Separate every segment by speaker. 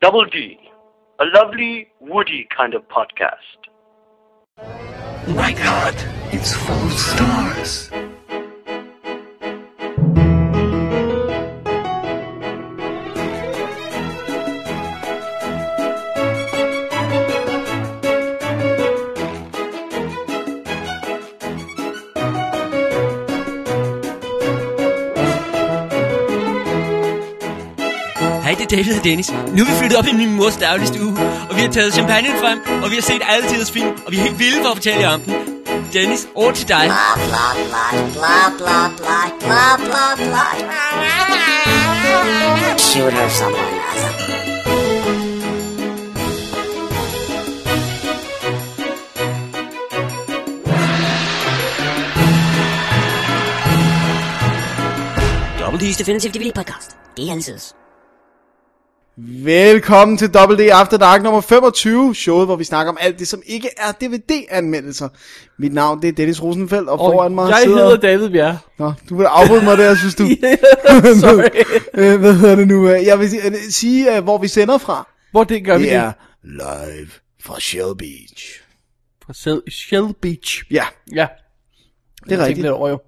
Speaker 1: Double D, a lovely, woody kind of podcast.
Speaker 2: My god, it's full of stars.
Speaker 3: Hej, det er David og Dennis. Nu er vi flyttet op i min mors dagligstue, og vi har taget champagne frem, og vi har set alle tiders film, og vi er helt vilde for at fortælle jer om den. Dennis, over til dig.
Speaker 4: blah blah blah blah blah blah blah blah blah. Shoot her someone.
Speaker 3: Double D's
Speaker 4: Definitive DVD podcast. Det er altid.
Speaker 5: Velkommen til WD After Dark nummer 25, showet, hvor vi snakker om alt det, som ikke er DVD-anmeldelser. Mit navn, det er Dennis Rosenfeldt, og, og foran mig
Speaker 6: jeg
Speaker 5: sidder...
Speaker 6: hedder David Bjerre.
Speaker 5: Nå, du vil afbryde mig der, synes du.
Speaker 6: Sorry.
Speaker 5: Øh, Hvad hedder det nu? Jeg vil si- øh, sige, øh, hvor vi sender fra.
Speaker 6: Hvor det gør vi
Speaker 5: Det er
Speaker 6: det?
Speaker 5: live fra Shell Beach.
Speaker 6: Fra Shell- Shell Beach.
Speaker 5: Ja,
Speaker 6: Ja,
Speaker 5: det er
Speaker 6: jeg
Speaker 5: rigtigt.
Speaker 6: tænkte lidt over jo.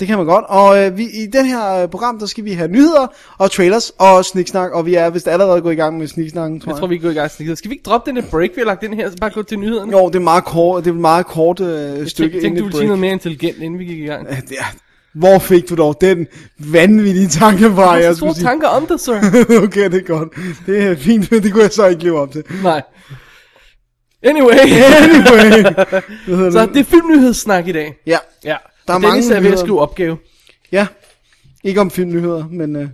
Speaker 5: Det kan man godt. Og øh, vi, i den her øh, program, der skal vi have nyheder og trailers og sniksnak. Og vi er vist allerede gået i gang med sniksnakken, tror
Speaker 6: Jeg tror, vi går i gang. Skal vi ikke droppe den der break, vi har lagt den her, så bare gå til nyhederne?
Speaker 5: Jo, det er meget kort, det er et meget kort øh,
Speaker 6: jeg
Speaker 5: stykke
Speaker 6: tænkte,
Speaker 5: inden et
Speaker 6: du ville
Speaker 5: break.
Speaker 6: sige noget mere intelligent, inden vi gik i gang.
Speaker 5: Ja, det er- Hvor fik du dog den vanvittige tanke fra,
Speaker 6: Jeg har
Speaker 5: jeg
Speaker 6: så
Speaker 5: skulle
Speaker 6: store
Speaker 5: sige?
Speaker 6: tanker om dig, sir.
Speaker 5: okay, det er godt. Det er fint, men det kunne jeg så ikke leve op til.
Speaker 6: Nej. Anyway,
Speaker 5: Anyway. Hvad hedder
Speaker 6: så det er filmnyhedssnak i dag.
Speaker 5: Ja,
Speaker 6: Ja,
Speaker 5: Der er
Speaker 6: Og Dennis
Speaker 5: mange
Speaker 6: er ved at
Speaker 5: nyheder.
Speaker 6: skrive opgave.
Speaker 5: ja. Ikke om filmnyheder, men... Øh,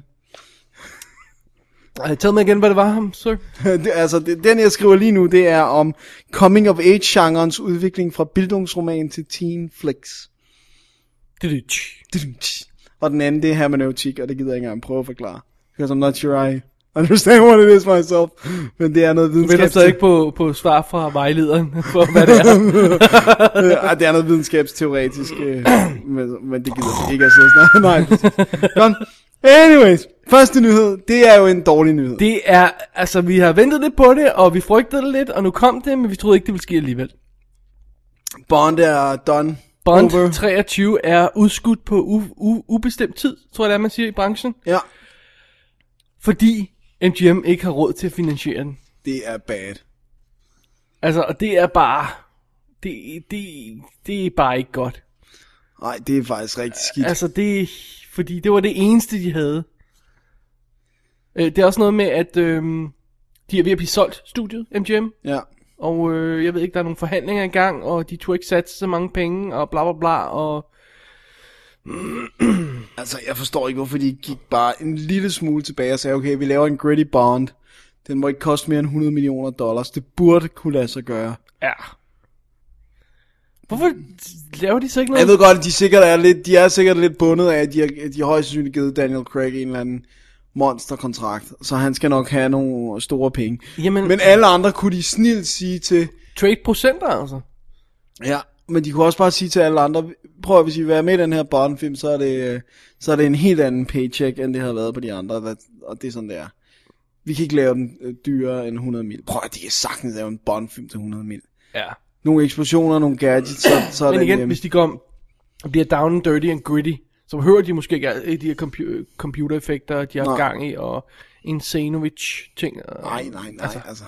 Speaker 6: Uh, tell mig igen, hvad det var ham, sir.
Speaker 5: det, altså, det, den jeg skriver lige nu, det er om coming of age-genrens udvikling fra bildungsroman til teen flicks. Og den anden, det er hermeneutik, og det gider jeg ikke engang prøve at forklare. Because I'm not sure I understand what it is myself. Men det er noget
Speaker 6: Du venter
Speaker 5: videnskab.
Speaker 6: stadig på, på svar fra vejlederen, for hvad det er.
Speaker 5: Øh, ej, det er noget videnskabsteoretisk, øh, men, men det gider vi ikke at sidde og snakke. Nej, præcis. Godt. Anyways, første nyhed, det er jo en dårlig nyhed. Det...
Speaker 6: Det er, altså vi har ventet lidt på det, og vi frygtede det lidt, og nu kom det, men vi troede ikke, det ville ske alligevel.
Speaker 5: Bond er done.
Speaker 6: Bond
Speaker 5: Over.
Speaker 6: Over. 23 er udskudt på u- u- ubestemt tid, tror jeg det er, man siger i branchen,
Speaker 5: Ja,
Speaker 6: fordi MGM ikke har råd til at finansiere den.
Speaker 5: det er bad.
Speaker 6: Altså, og det er bare, det, det, det er bare ikke godt.
Speaker 5: Nej, det er faktisk rigtig skidt.
Speaker 6: Altså, det, fordi det var det eneste, de havde. Øh, det er også noget med, at øh, de er ved at blive solgt, studiet, MGM,
Speaker 5: Ja.
Speaker 6: Og øh, jeg ved ikke, der er nogle forhandlinger i gang, og de tog ikke satse så mange penge, og bla bla bla, og...
Speaker 5: Altså, jeg forstår ikke, hvorfor de ikke gik bare en lille smule tilbage og sagde, okay, vi laver en gritty Bond. Den må ikke koste mere end 100 millioner dollars. Det burde kunne lade sig gøre.
Speaker 6: Ja. Hvorfor laver de så ikke
Speaker 5: Jeg
Speaker 6: noget?
Speaker 5: ved godt, at de, sikkert er lidt, de er sikkert lidt bundet af, at de har, at de har højst sandsynligt givet Daniel Craig en eller anden monsterkontrakt, så han skal nok have nogle store penge.
Speaker 6: Jamen-
Speaker 5: Men alle andre kunne de snilt sige til,
Speaker 6: Trade procenter, altså.
Speaker 5: ja, men de kunne også bare sige til alle andre, prøv at hvis I vil være med i den her Bond-film, så er det, øh, så er det en helt anden paycheck, end det har været på de andre, Hvad- og det er sådan, det er. Vi kan ikke lave den øh, dyrere end 100 mil. Prøv at de kan sagtens lave en Bond-film til 100 mil.
Speaker 6: Ja.
Speaker 5: Nogle eksplosioner, nogle gadgets, så, så er
Speaker 6: Men
Speaker 5: den,
Speaker 6: igen,
Speaker 5: øh,
Speaker 6: hvis de går om, og bliver down and dirty and gritty, så hører de måske ikke alle de her compu- computereffekter, de har
Speaker 5: Nej.
Speaker 6: gang i, og Insanovic-ting. og
Speaker 5: Nej, nej, nej, altså. altså.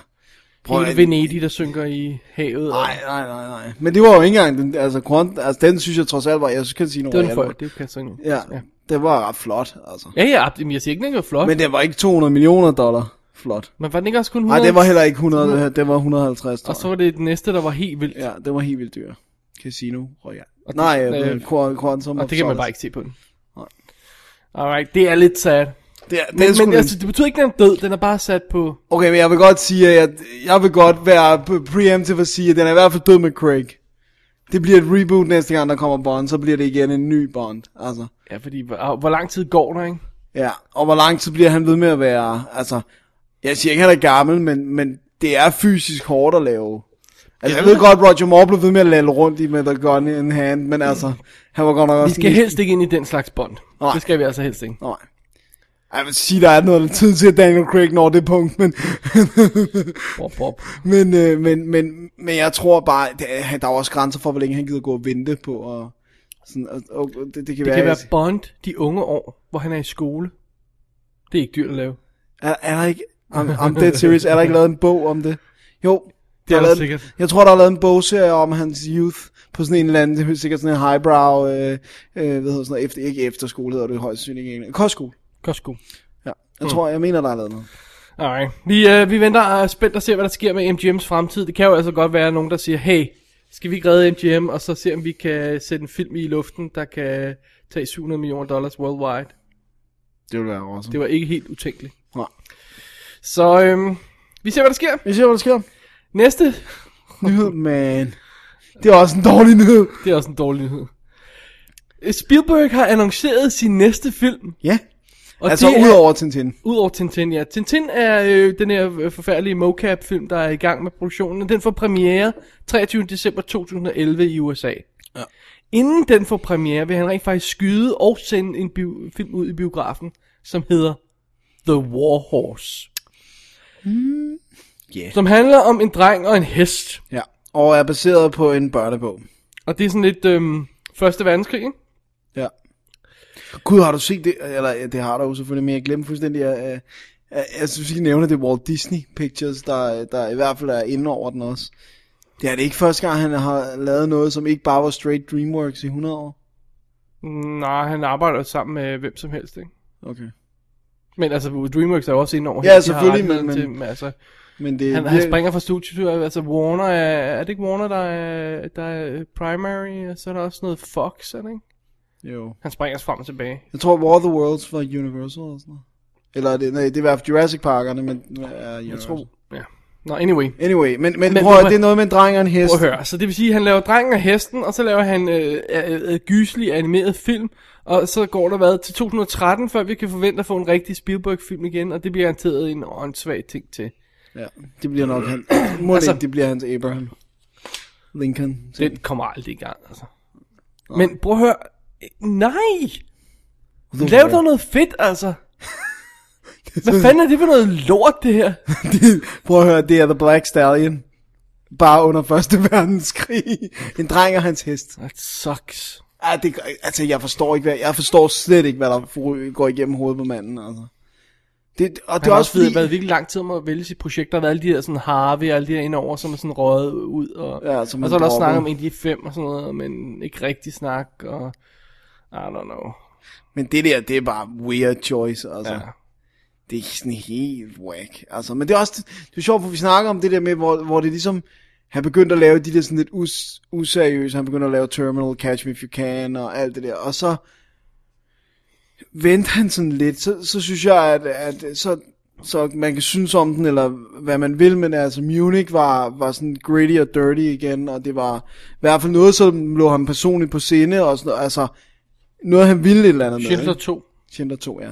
Speaker 6: Hele Venedig, der synker i havet. og-
Speaker 5: Nej, nej, nej, nej. Men det var jo ikke engang den, altså, grund, altså den synes jeg trods alt var, jeg kan sige noget.
Speaker 6: Det var den
Speaker 5: reelt.
Speaker 6: for, det kan jeg så ikke.
Speaker 5: Ja,
Speaker 6: ja.
Speaker 5: det var ret flot, altså.
Speaker 6: Ja, ja, ab- jamen, jeg siger ikke, den ikke var flot. Men,
Speaker 5: Men det var ikke 200 millioner dollar flot.
Speaker 6: men var den ikke også kun
Speaker 5: Nej,
Speaker 6: 100?
Speaker 5: det var heller ikke 100, det var 150
Speaker 6: Og så
Speaker 5: dollar.
Speaker 6: var det den næste, der var helt vildt.
Speaker 5: Ja, det var helt vildt dyr. Casino Royale. Nej, øh,
Speaker 6: øh,
Speaker 5: Qu- Quantum
Speaker 6: Og
Speaker 5: of
Speaker 6: det kan man
Speaker 5: Solace.
Speaker 6: bare ikke se på den.
Speaker 5: Nej.
Speaker 6: Alright, det er lidt sad.
Speaker 5: Det, er- det
Speaker 6: Men,
Speaker 5: er sgu
Speaker 6: men
Speaker 5: lidt-
Speaker 6: altså, det betyder ikke, at den er død. Den er bare sat på...
Speaker 5: Okay, men jeg vil godt sige, at jeg, jeg vil godt være p- preemptive og sige, at den er i hvert fald død med Craig. Det bliver et reboot næste gang, der kommer Bond, så bliver det igen en ny Bond, altså.
Speaker 6: Ja, fordi hvor, hvor lang tid går der, ikke?
Speaker 5: Ja, og hvor lang tid bliver han ved med at være, altså, jeg siger ikke, at han er gammel, men, men det er fysisk hårdt at lave. Altså, jeg ved godt, Roger Moore blev ved med at lade rundt i med The Gun in Hand, men altså, han var godt nok
Speaker 6: Mm. Vi
Speaker 5: også...
Speaker 6: skal
Speaker 5: en-
Speaker 6: helst ikke ind i den slags bånd.
Speaker 5: Nej.
Speaker 6: Det skal vi altså helst ikke.
Speaker 5: Nej. Jeg vil sige, der er noget tid til, at Daniel Craig når det punkt, men...
Speaker 6: Bop, bop.
Speaker 5: men, øh, men, men, men jeg tror bare, det, er- der er også grænser for, hvor længe han gider gå og vente på. Og, sådan, og, og, det, det, kan
Speaker 6: Det
Speaker 5: være,
Speaker 6: kan være Bond de unge år, hvor han er i skole. Det er ikke dyrt at lave.
Speaker 5: er, er, der ikke... Om, om Dead Series, er der ikke lavet en bog om det? Jo,
Speaker 6: Det
Speaker 5: der
Speaker 6: er der
Speaker 5: lavet-
Speaker 6: sikkert.
Speaker 5: Jeg tror, der er lavet en bogserie om hans youth på sådan en eller anden, det er sikkert sådan en highbrow, øh, øh, hvad hedder sådan noget, efter, ikke efterskole hedder det højst sandsynligt ikke, kostskole.
Speaker 6: Costco.
Speaker 5: Ja, jeg tror, jeg mener, der er lavet noget.
Speaker 6: Alright. Vi, øh, vi venter øh, spændt og ser, hvad der sker med MGM's fremtid. Det kan jo altså godt være nogen, der siger, hey, skal vi ikke redde MGM, og så se, om vi kan sætte en film i luften, der kan tage 700 millioner dollars worldwide.
Speaker 5: Det ville være awesome.
Speaker 6: Det var ikke helt utænkeligt.
Speaker 5: Nej.
Speaker 6: Så øhm, vi ser, hvad der sker.
Speaker 5: Vi ser, hvad der sker.
Speaker 6: Næste.
Speaker 5: Nyhed, man. Det er også en dårlig nyhed.
Speaker 6: Det er også en dårlig nyhed. Øh, Spielberg har annonceret sin næste film.
Speaker 5: Ja,
Speaker 6: Og
Speaker 5: altså
Speaker 6: det
Speaker 5: ud
Speaker 6: er,
Speaker 5: over Tintin.
Speaker 6: udover Tintin, ja. Tintin er øh, den her øh, forfærdelige mocap-film, der er i gang med produktionen. og Den får premiere 23. december 2011 i USA. Ja. Inden den får premiere, vil han rent faktisk skyde og sende en bio- film ud i biografen, som hedder The War Horse. Mm.
Speaker 5: ja.
Speaker 6: Som handler om en dreng og en hest.
Speaker 5: Ja, og er baseret på en børnebog.
Speaker 6: Og det er sådan lidt øhm, første verdenskrig, ikke?
Speaker 5: Ja. Gud, har du set det? Eller ja, det har du jo selvfølgelig, men jeg glemte fuldstændig, at, at, at jeg synes, vi nævner det er Walt Disney Pictures, der, der i hvert fald er inde over den også. Det er det ikke første gang, han har lavet noget, som ikke bare var straight DreamWorks i 100 år.
Speaker 6: Nej, han arbejder sammen med hvem som helst, ikke?
Speaker 5: Okay.
Speaker 6: Men altså, DreamWorks er jo også inde over
Speaker 5: Ja,
Speaker 6: her. De har
Speaker 5: selvfølgelig,
Speaker 6: rettigheden
Speaker 5: men-
Speaker 6: til
Speaker 5: men-
Speaker 6: dem, altså,
Speaker 5: Men det,
Speaker 6: han,
Speaker 5: er
Speaker 6: han
Speaker 5: virkelig-
Speaker 6: springer fra studiet, altså Warner er, er det ikke Warner, der er, der er primary, og så er der også noget Fox, er det ikke?
Speaker 5: Jo.
Speaker 6: Han springer frem og tilbage.
Speaker 5: Jeg tror, War of the Worlds var Universal eller sådan noget. Eller er det, nej, det er i hvert fald Jurassic Parkerne, men uh,
Speaker 6: Jeg tror, ja. Nå, anyway.
Speaker 5: Anyway, men, men,
Speaker 6: Men
Speaker 5: men prøv, at-
Speaker 6: prøv-
Speaker 5: det er noget med en dreng og en hest.
Speaker 6: Prøv at høre. Så det vil sige, at han laver drengen og hesten, og så laver han øh, øh, øh, gyselig animeret film, og så går der hvad, til 2013, før vi kan forvente at få en rigtig Spielberg-film igen, og det bliver garanteret en åndssvag ting til.
Speaker 5: Ja, det bliver nok han. Må altså,
Speaker 6: Altså-
Speaker 5: ikke, det bliver hans Abraham. Lincoln.
Speaker 6: Den kommer aldrig i gang, altså. Men prøv at høre. Øh, Nej! Lav dog noget fedt, altså. Hvad fanden er det for noget lort, det her?
Speaker 5: Det- Prøv at høre, det er The Black Stallion. Bare under Første Verdenskrig. En dreng og hans hest.
Speaker 6: That sucks.
Speaker 5: Ah, det, gør- altså, jeg forstår ikke, hvad, jeg forstår slet ikke, hvad der for- går igennem hovedet på manden, altså. Det, og
Speaker 6: Det
Speaker 5: det er også fordi...
Speaker 6: været virkelig lang tid om at vælge sit projekt. Der har været alle de der sådan Harvey og alle de der indover, som er sådan røget ud. Og,
Speaker 5: Ja, som
Speaker 6: og
Speaker 5: man
Speaker 6: så er der også
Speaker 5: dropper.
Speaker 6: snak om Indie 5 og sådan noget, men ikke rigtig snak. Og, I don't know.
Speaker 5: Men det der, det er bare weird choice, altså.
Speaker 6: Ja.
Speaker 5: Ja. Det er sådan helt whack. Altså, men det er også det er sjovt, for vi snakker om det der med, hvor, hvor det ligesom... Han begyndte at lave de der sådan lidt us, useriøse, han begyndte at lave Terminal, Catch Me If You Can og alt det der. Og så vendte han sådan lidt, så, så synes jeg, at, at så, så man kan synes om den, eller hvad man vil, men altså Munich var, var sådan gritty og dirty igen, og det var i hvert fald noget, som lå ham personligt på sinde, og sådan, noget. altså noget, han ville et eller andet med.
Speaker 6: Schindler
Speaker 5: ikke?
Speaker 6: 2.
Speaker 5: Schindler 2, ja.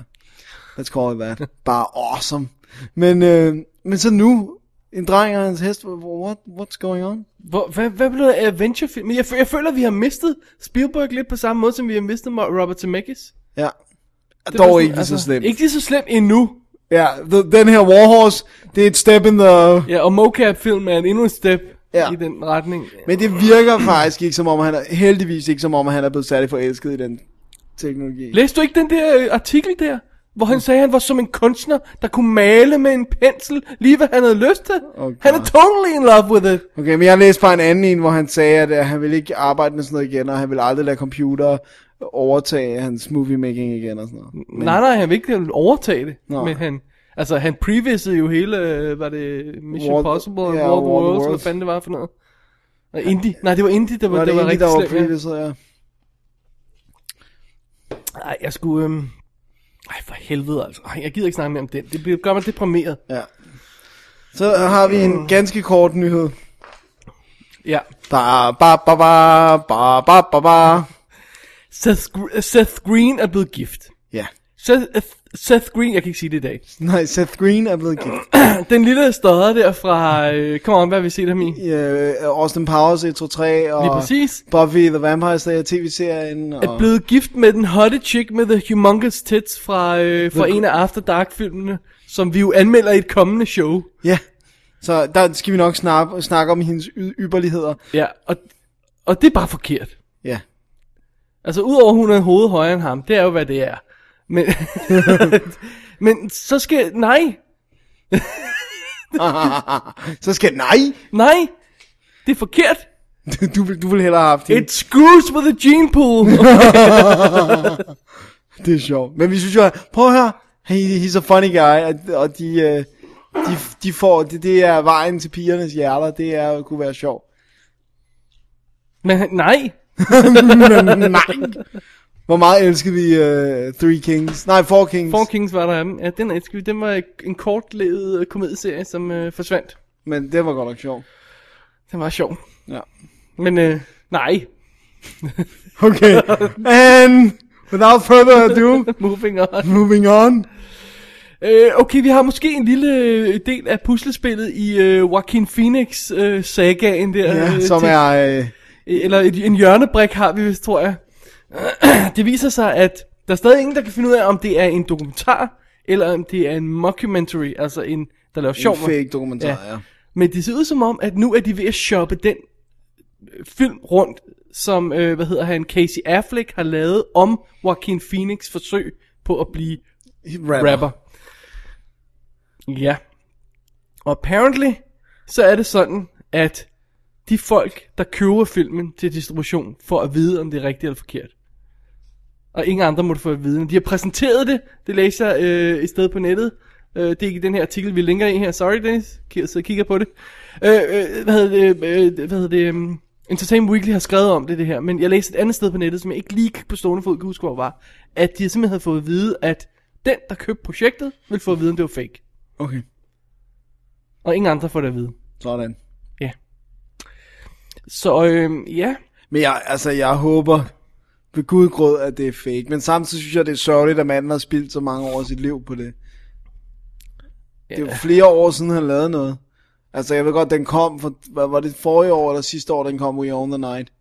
Speaker 5: Let's call it that. Bare awesome. Men, øh, men så nu, en dreng og hans hest, what, what's going on?
Speaker 6: Hvor, hvad, hvad blev det af adventurefilm? Men Jeg, fø- jeg føler, at vi har mistet Spielberg lidt på samme måde, som vi har mistet Mo- Robert Zemeckis.
Speaker 5: Ja.
Speaker 6: Det var
Speaker 5: Dog
Speaker 6: sådan,
Speaker 5: ikke altså, så slemt.
Speaker 6: Ikke lige så slemt endnu.
Speaker 5: Ja, the, den her Warhorse, det er et step in the...
Speaker 6: Ja, og mocap-film er en endnu en step ja.
Speaker 5: Ja.
Speaker 6: i den retning.
Speaker 5: Men det virker faktisk ikke som om, han er, heldigvis ikke som om, han er blevet særlig forelsket i den teknologi.
Speaker 6: Læste du ikke den der øh, artikel der? Hvor han sagde, at han var som en kunstner, der kunne male med en pensel, lige hvad han havde lyst til.
Speaker 5: Oh,
Speaker 6: han er
Speaker 5: God.
Speaker 6: totally in love with it.
Speaker 5: Okay, men jeg læste bare en anden en, hvor han sagde, at, at han ville ikke arbejde med sådan noget igen, og han ville aldrig lade computer overtage hans movie making igen og sådan noget.
Speaker 6: Men... Nej, nej, han vil ikke overtage det.
Speaker 5: Nå.
Speaker 6: Men han, altså, han previsede jo hele, øh, var det Mission
Speaker 5: War-
Speaker 6: Impossible og
Speaker 5: ja,
Speaker 6: War of the
Speaker 5: War of the
Speaker 6: Worlds, hvad
Speaker 5: Worlds.
Speaker 6: fanden det var for noget. Og Indie. Nej, det var Indie, der var,
Speaker 5: Var
Speaker 6: det
Speaker 5: det,
Speaker 6: var
Speaker 5: egentlig, der
Speaker 6: rigtig
Speaker 5: var
Speaker 6: slemt. ja.
Speaker 5: previous, ja.
Speaker 6: Nej, jeg skulle... Øhm... Ej, for helvede altså. Ej, jeg gider ikke snakke mere om den. Det bliver- gør mig deprimeret.
Speaker 5: Ja. Så har vi en ganske kort nyhed.
Speaker 6: Ja.
Speaker 5: Ba, ba, ba, ba, ba, ba, ba, ba.
Speaker 6: Seth, Gr- Seth Green er blevet gift.
Speaker 5: Ja.
Speaker 6: Seth, Seth Green, jeg kan ikke sige det i dag.
Speaker 5: Nej, Seth Green er blevet gift.
Speaker 6: Den lille stodder der fra, øh, kom on, hvad har vi set ham i?
Speaker 5: Øh, Austin Powers 1, 2, 3 og
Speaker 6: Lige præcis.
Speaker 5: Buffy the Vampire Slayer tv-serien.
Speaker 6: Er
Speaker 5: Og...
Speaker 6: blevet gift med den hotte chick med the humongous tits fra, øh, fra en af After Dark filmene, som vi jo anmelder i et kommende show.
Speaker 5: Ja, så der skal vi nok snakke, snakke om hendes y- yberligheder.
Speaker 6: Ja, og, og det er bare forkert.
Speaker 5: Ja,
Speaker 6: Altså, udover hun er en hoved højere end ham, det er jo, hvad det er. Men, men så skal, nej,
Speaker 5: så skal nej.
Speaker 6: nej, det er forkert.
Speaker 5: Du vil, du vil hellere have haft hende.
Speaker 6: It screws with the gene pool.
Speaker 5: Det er sjovt. Men vi synes jo, prøv at høre, he, he's a funny guy, og, og de, øh, de, de får, det, det er vejen til pigernes hjerter, det er, kunne være sjovt.
Speaker 6: Men han- nej,
Speaker 5: Hvor meget elskede vi øh, Three Kings? Nej, Four Kings.
Speaker 6: Four Kings var der af dem. Ja, den elsker vi. Den var en kortlevet øh, komedieserie, som øh, forsvandt.
Speaker 5: Men det var godt nok sjovt.
Speaker 6: Den var sjov.
Speaker 5: Ja.
Speaker 6: Men øh, nej,
Speaker 5: Okay, and without further ado,
Speaker 6: moving on.
Speaker 5: moving on.
Speaker 6: Øh, okay, vi har måske en lille øh, del af puslespillet i øh, Joaquin Phoenix øh, sagaen der.
Speaker 5: Ja,
Speaker 6: øh,
Speaker 5: som
Speaker 6: til-
Speaker 5: er, øh,
Speaker 6: Eller et, en hjørnebrik har vi vist, tror jeg. det viser sig, at der er stadig ingen, der kan finde ud af, om det er en dokumentar, eller om det er en mockumentary, altså en, der laver sjov.
Speaker 5: en fake dokumentar,
Speaker 6: Ja.
Speaker 5: ja. ja.
Speaker 6: Men det ser ud som om, at nu er de ved at shoppe den øh, film rundt, som, øh, hvad hedder han, Casey Affleck har lavet om Joaquin Phoenix forsøg på at blive
Speaker 5: Rapper.
Speaker 6: rapper. Ja. Og apparently, så er det sådan, at de folk, der køber filmen til distribution, får at vide, om det er rigtigt eller forkert. Og ingen andre måtte få at vide. De har præsenteret det, det læser jeg øh, et sted på nettet. Øh, det er ikke den her artikel, vi linker i her. Sorry, Dennis. Jeg sidder og kigger på det. Øh, øh, hvad hedder det? Øh, hvad hedder det? Um, Entertainment Weekly har skrevet om det, det her. Men jeg læste et andet sted på nettet, som jeg ikke lige på stående fod kan huske, hvor var. At de simpelthen havde fået at vide, at den, der købte projektet, ville få at vide, om det var fake.
Speaker 5: Okay,
Speaker 6: Og ingen andre får det at vide.
Speaker 5: sådan.
Speaker 6: Så øh, ja,
Speaker 5: Men jeg, altså, jeg håber ved Gud gråd, at det er fake. Men samtidig synes jeg, det er sørgeligt, at manden har spildt så mange år af sit liv på det. Det er jo flere år siden, han lavede noget. Altså, jeg ved godt, den kom for, hvad var det forrige år eller sidste år, den kom We Own The Night?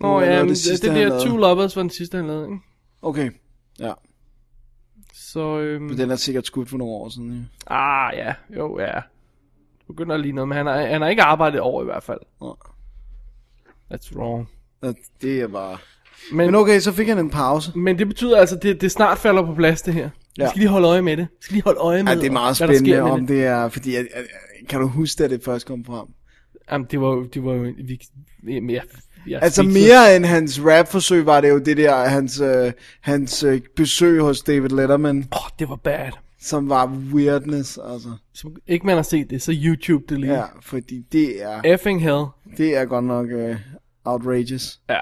Speaker 5: Nu
Speaker 6: Nå
Speaker 5: er noget
Speaker 6: ja,
Speaker 5: af
Speaker 6: men det, det,
Speaker 5: sidste,
Speaker 6: det
Speaker 5: han
Speaker 6: der
Speaker 5: lavede.
Speaker 6: Two Lovers var den sidste, han lavede, ikke?
Speaker 5: Okay, ja.
Speaker 6: Så, øhm,
Speaker 5: Men den er sikkert skudt for nogle år siden. Ja.
Speaker 6: ah ja, jo ja. Det begynder lige noget, men han har, han har ikke arbejdet over i hvert fald.
Speaker 5: Nå.
Speaker 6: That's wrong.
Speaker 5: Og Det er bare...
Speaker 6: Men,
Speaker 5: Men okay, så fik han en pause.
Speaker 6: men det betyder altså, det, det snart falder på plads, det her. Ja. Vi
Speaker 5: Ja.
Speaker 6: skal lige holde øje med det. Vi skal lige holde øje med,
Speaker 5: Ja, det er meget
Speaker 6: hvad der
Speaker 5: spændende,
Speaker 6: sker med
Speaker 5: om
Speaker 6: det.
Speaker 5: det er... Fordi, at- at- at- kan du huske, at det først kom frem?
Speaker 6: Jamen, det var jo, det var jo, en- vi, jamen, jeg, jeg er
Speaker 5: Altså
Speaker 6: speechless.
Speaker 5: mere end hans rapforsøg var det jo det der, hans, øh, hans øh, besøg hos David Letterman,
Speaker 6: Åh, oh, det var bad.
Speaker 5: som var weirdness, altså.
Speaker 6: Som ikke man har set det, så YouTube det lige.
Speaker 5: Ja, fordi det er,
Speaker 6: Effing hell.
Speaker 5: det er godt nok øh, outrageous.
Speaker 6: Ja.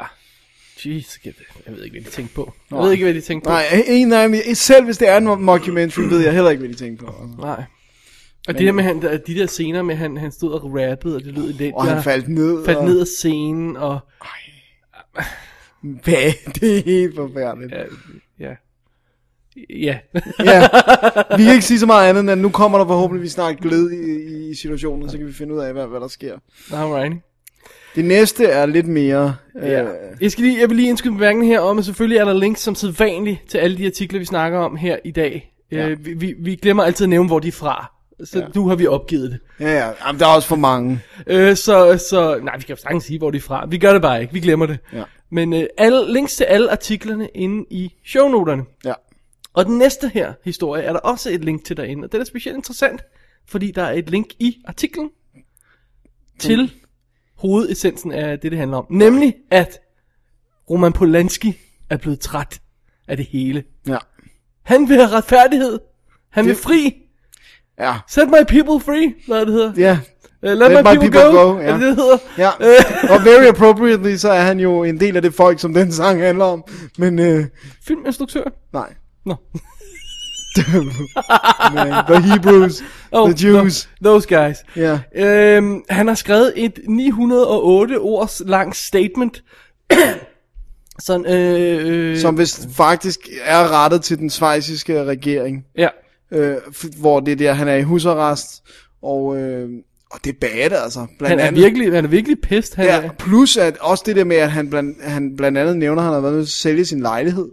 Speaker 6: Jeez, jeg jeg ved ikke, hvad de tænkte på. Jeg ved ikke, hvad de tænkte på.
Speaker 5: Nej, en af dem, selv hvis det er en mockumentary, ved jeg heller ikke, hvad de tænker på. altså.
Speaker 6: Nej. Og det der med han, der- de der scener med, han, han stod og rappede, og det lød lidt.
Speaker 5: Og han faldt ned.
Speaker 6: faldt
Speaker 5: og-
Speaker 6: ned af scenen, og
Speaker 5: Hvad? Det er helt forfærdeligt.
Speaker 6: ja, ja. Ja,
Speaker 5: Ja. Vi kan ikke sige så meget andet, end at nu kommer der forhåbentlig snart glid i, i situationen, så kan vi finde ud af, hvad, hvad der sker.
Speaker 6: alright.
Speaker 5: Det næste er lidt mere... Øh,
Speaker 6: Ja. Jeg, skal lige, jeg vil lige indskyde en bemærkning her om, at selvfølgelig er der links som sædvanligt til alle de artikler, vi snakker om her i dag. Ja. Øh, vi, vi, vi glemmer altid at nævne, hvor de er fra. Så ja. nu har vi opgivet det.
Speaker 5: Ja, ja. Jamen, der er også for mange.
Speaker 6: Øh, så, så, nej, vi kan jo sagtens sige, hvor de er fra. Vi gør det bare ikke, vi glemmer det.
Speaker 5: Ja.
Speaker 6: Men øh, alle, links til alle artiklerne inde i shownoterne.
Speaker 5: Ja.
Speaker 6: Og den næste her historie er der også et link til derinde, og den er specielt interessant, fordi der er et link i artiklen til hovedessensen af det, det handler om. Nemlig, at Roman Polanski er blevet træt af det hele.
Speaker 5: Ja.
Speaker 6: Han vil have retfærdighed. Han vil
Speaker 5: Det-
Speaker 6: fri.
Speaker 5: Ja.
Speaker 6: Set my people free, hvad det hedder.
Speaker 5: Ja.
Speaker 6: Uh, let, my, people, go, go ja. er det, det det hedder?
Speaker 5: Ja.
Speaker 6: Øh,
Speaker 5: Og very appropriately, så er han jo en del af det folk, som den sang handler om. Men øh,
Speaker 6: filminstruktør.
Speaker 5: nej.
Speaker 6: Nå.
Speaker 5: Men, øh, the Hebrews.
Speaker 6: Oh,
Speaker 5: the Jews.
Speaker 6: no, those guys.
Speaker 5: Ja.
Speaker 6: Øhm, han har skrevet et 908 ords langt statement, Sådan, øh, øh,
Speaker 5: Som vist faktisk er rettet til den svejsiske regering,
Speaker 6: ja.
Speaker 5: øh, f- hvor det er der, han er i husarrest, og, øh, og det er bad, altså.
Speaker 6: Han
Speaker 5: Blandt
Speaker 6: er virkelig, han er virkelig pissed. Han
Speaker 5: Ja,
Speaker 6: er,
Speaker 5: plus at også det der med, at han blandt, han blandt andet nævner, at han har været nødt til at sælge sin lejlighed,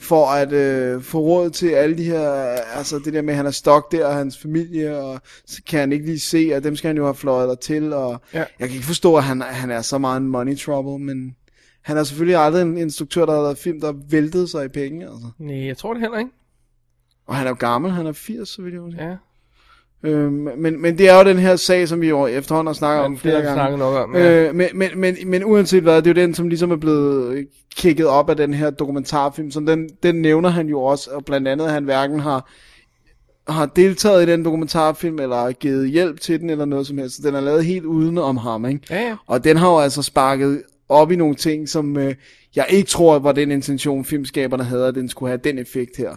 Speaker 5: for at øh, få råd til alle de her, altså det der med, at han er stok der, og hans familie, og så kan han ikke lige se, og dem skal han jo have fløjet der til, og
Speaker 6: Ja.
Speaker 5: ja. jeg kan ikke forstå, at han, han er så meget en money trouble, men han er selvfølgelig aldrig en instruktør, der har lavet film, der væltede sig i penge, altså.
Speaker 6: nej, jeg tror det heller ikke.
Speaker 5: Og han er jo gammel, han er 80, så vidt jeg husker.
Speaker 6: Ja,
Speaker 5: Øhm, men, men det er jo den her sag, som vi jo efterhånden har snakket om
Speaker 6: men det
Speaker 5: flere
Speaker 6: har vi
Speaker 5: gange.
Speaker 6: snakket nok om. Ja.
Speaker 5: Øh, men, men, men, men uanset hvad, det er jo den, som ligesom er blevet øh, kigget op af den her dokumentarfilm, som den, den nævner han jo også, og blandt andet, at han hverken har, har deltaget i den dokumentarfilm, eller givet hjælp til den, eller noget som helst. Så den er lavet helt uden om ham, ikke?
Speaker 6: Ja, ja.
Speaker 5: Og den har jo altså sparket op i nogle ting, som øh, jeg ikke tror var den intention, filmskaberne havde, at den skulle have den effekt her.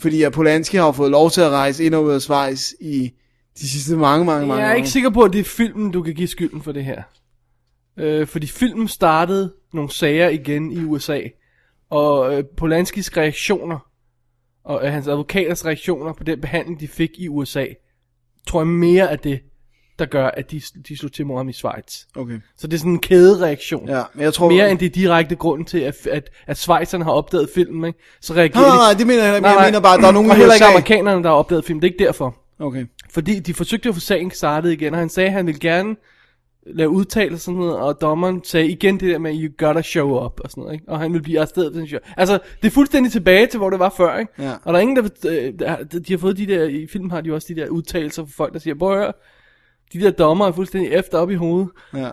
Speaker 5: Fordi at Polanski har jo fået lov til at rejse ind og ud af Schweiz i de sidste mange, mange, mange
Speaker 6: Jeg er
Speaker 5: år.
Speaker 6: ikke sikker på, at det er filmen, du kan give skylden for det her. Øh, fordi filmen startede nogle sager igen i USA. Og øh, Polanskis reaktioner, og øh, hans advokaters reaktioner på den behandling, de fik i USA, tror jeg mere af det, der gør, at de, de slog til mod ham i Schweiz.
Speaker 5: Okay.
Speaker 6: Så det er sådan en kædereaktion.
Speaker 5: Ja, men jeg tror...
Speaker 6: Mere end det er direkte grunden til, at, at, at Schweizerne har opdaget filmen, ikke? Så reagerer
Speaker 5: Nej, nej,
Speaker 6: de-
Speaker 5: nej, det mener jeg heller ikke. Jeg mener bare, at der er nogen
Speaker 6: og
Speaker 5: i
Speaker 6: heller ikke
Speaker 5: USA.
Speaker 6: amerikanerne, der har opdaget filmen. Det er ikke derfor.
Speaker 5: Okay.
Speaker 6: Fordi de forsøgte at få sagen startet igen, og han sagde, at han ville gerne lave udtalelser og sådan noget, og dommeren sagde igen det der med, you gotta show up, og sådan noget, ikke? og han ville blive arresteret. Hvis han show- altså, det er fuldstændig tilbage til, hvor det var før, ikke?
Speaker 5: Ja.
Speaker 6: og der er ingen, der, vil- øh, der, har- de har fået de der, i filmen har de også de der udtalelser fra folk, der siger, prøv at høre, de der dommer er fuldstændig efter op i hovedet.
Speaker 5: Ja.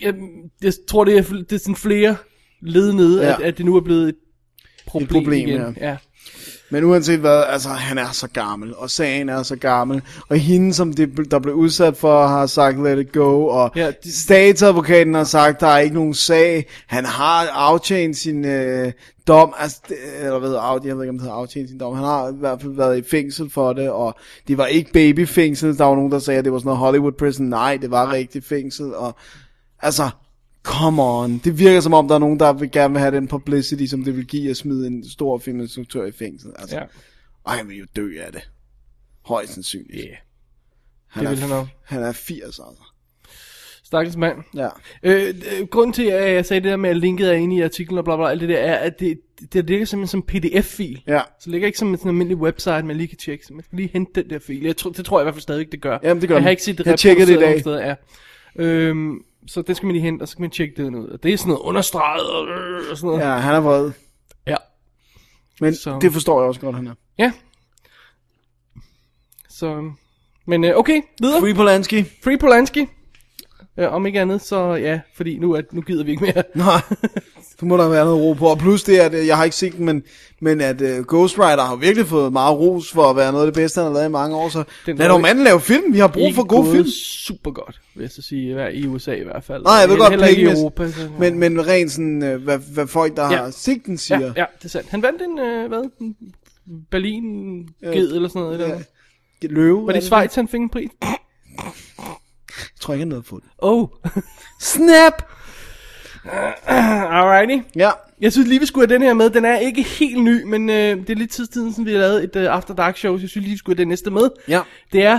Speaker 6: Jeg, jeg tror, det er, fl- det er sådan flere led nede, ja.
Speaker 5: Ja.
Speaker 6: at, at det nu er blevet et problem,
Speaker 5: problem,
Speaker 6: igen. Ja.
Speaker 5: Men uanset hvad, altså han er så gammel, og sagen er så gammel, og hende, som det, der blev udsat for, har sagt, let it go, og
Speaker 6: Ja,
Speaker 5: ja,
Speaker 6: de-
Speaker 5: de... statsadvokaten har sagt, der er ikke nogen sag, han har aftjent sin øh, dom, altså, det- eller hvad hedder af, jeg ved ikke, om det hedder aftjent sin dom, han har i hvert fald været i fængsel for det, og det var ikke babyfængsel, der var nogen, der sagde, at det var sådan noget Hollywood prison, nej, det var rigtig fængsel, og Altså, come on. Det virker som om, der er nogen, der vil gerne vil have den publicity, som det vil give at smide en stor filminstruktør i fængsel. Altså,
Speaker 6: Ja.
Speaker 5: ja. Og han vil jo dø af det. Højst sandsynligt.
Speaker 6: Yeah.
Speaker 5: Han
Speaker 6: Det
Speaker 5: er,
Speaker 6: vil han også.
Speaker 5: han er 80, altså.
Speaker 6: Stakkels mand.
Speaker 5: Ja.
Speaker 6: Øh, øh, grunden til, at jeg sagde det der med, at linket er inde i artiklen og bla bla, bla alt det der, er, at det, det ligger simpelthen som pdf-fil.
Speaker 5: Ja.
Speaker 6: Så det ligger ikke som en sådan almindelig website, man lige kan tjekke. Så man skal lige hente den der fil. Jeg tror, det tror jeg i hvert fald stadig, det gør.
Speaker 5: Jamen, det gør
Speaker 6: Jeg
Speaker 5: den.
Speaker 6: har ikke set det
Speaker 5: Jeg tjekkede det i
Speaker 6: reproduceret nogen Steder, ja. øhm, så den skal man lige hente, og så kan man tjekke den ud. Og det er sådan noget understreget og, øh, og sådan noget.
Speaker 5: Ja, han er vred.
Speaker 6: ja.
Speaker 5: Men
Speaker 6: Så-
Speaker 5: så... det forstår jeg også godt, han er.
Speaker 6: ja. Så, men øh, okay, videre. Free,
Speaker 5: Free Polanski.
Speaker 6: Free Polanski. Øh, om ikke andet, så ja, fordi nu, at, nu gider vi ikke mere.
Speaker 5: Nej, så må der være noget ro på. Og plus det, at øh, jeg har ikke set den, men, men at uh, Ghost Rider har virkelig fået meget ros for at være noget af det bedste, han har lavet i mange år. Så
Speaker 6: Den
Speaker 5: lad
Speaker 6: var
Speaker 5: dog
Speaker 6: jo-
Speaker 5: manden lave film. Vi har brug for
Speaker 6: Ikke
Speaker 5: gode
Speaker 6: gået
Speaker 5: film.
Speaker 6: super godt, vil jeg så sige, i hver- i USA i hvert fald.
Speaker 5: Nej, jeg ved
Speaker 6: Heller-
Speaker 5: godt,
Speaker 6: heller ikke i
Speaker 5: pengemæssigt.
Speaker 6: Europa. Så...
Speaker 5: Men, men rent sådan, øh, hvad, hvad folk, der
Speaker 6: Ja.
Speaker 5: ja. har set den, siger.
Speaker 6: ja, ja, det er sandt. Han vandt en, øh, hvad, en berlin ged eller sådan noget. Ja. Eller.
Speaker 5: Løve.
Speaker 6: Var det i Schweiz, han fik en pris?
Speaker 5: Jeg tror ikke, han havde fået den.
Speaker 6: Oh,
Speaker 5: Snap!
Speaker 6: alrighty.
Speaker 5: Ja.
Speaker 6: Jeg synes lige, vi skulle have den her med. Den er ikke helt ny, men øh, det er lidt tid siden, siden vi har lavet et øh, After Dark show, så jeg synes lige, vi skulle have den næste med.
Speaker 5: Ja.
Speaker 6: Det er...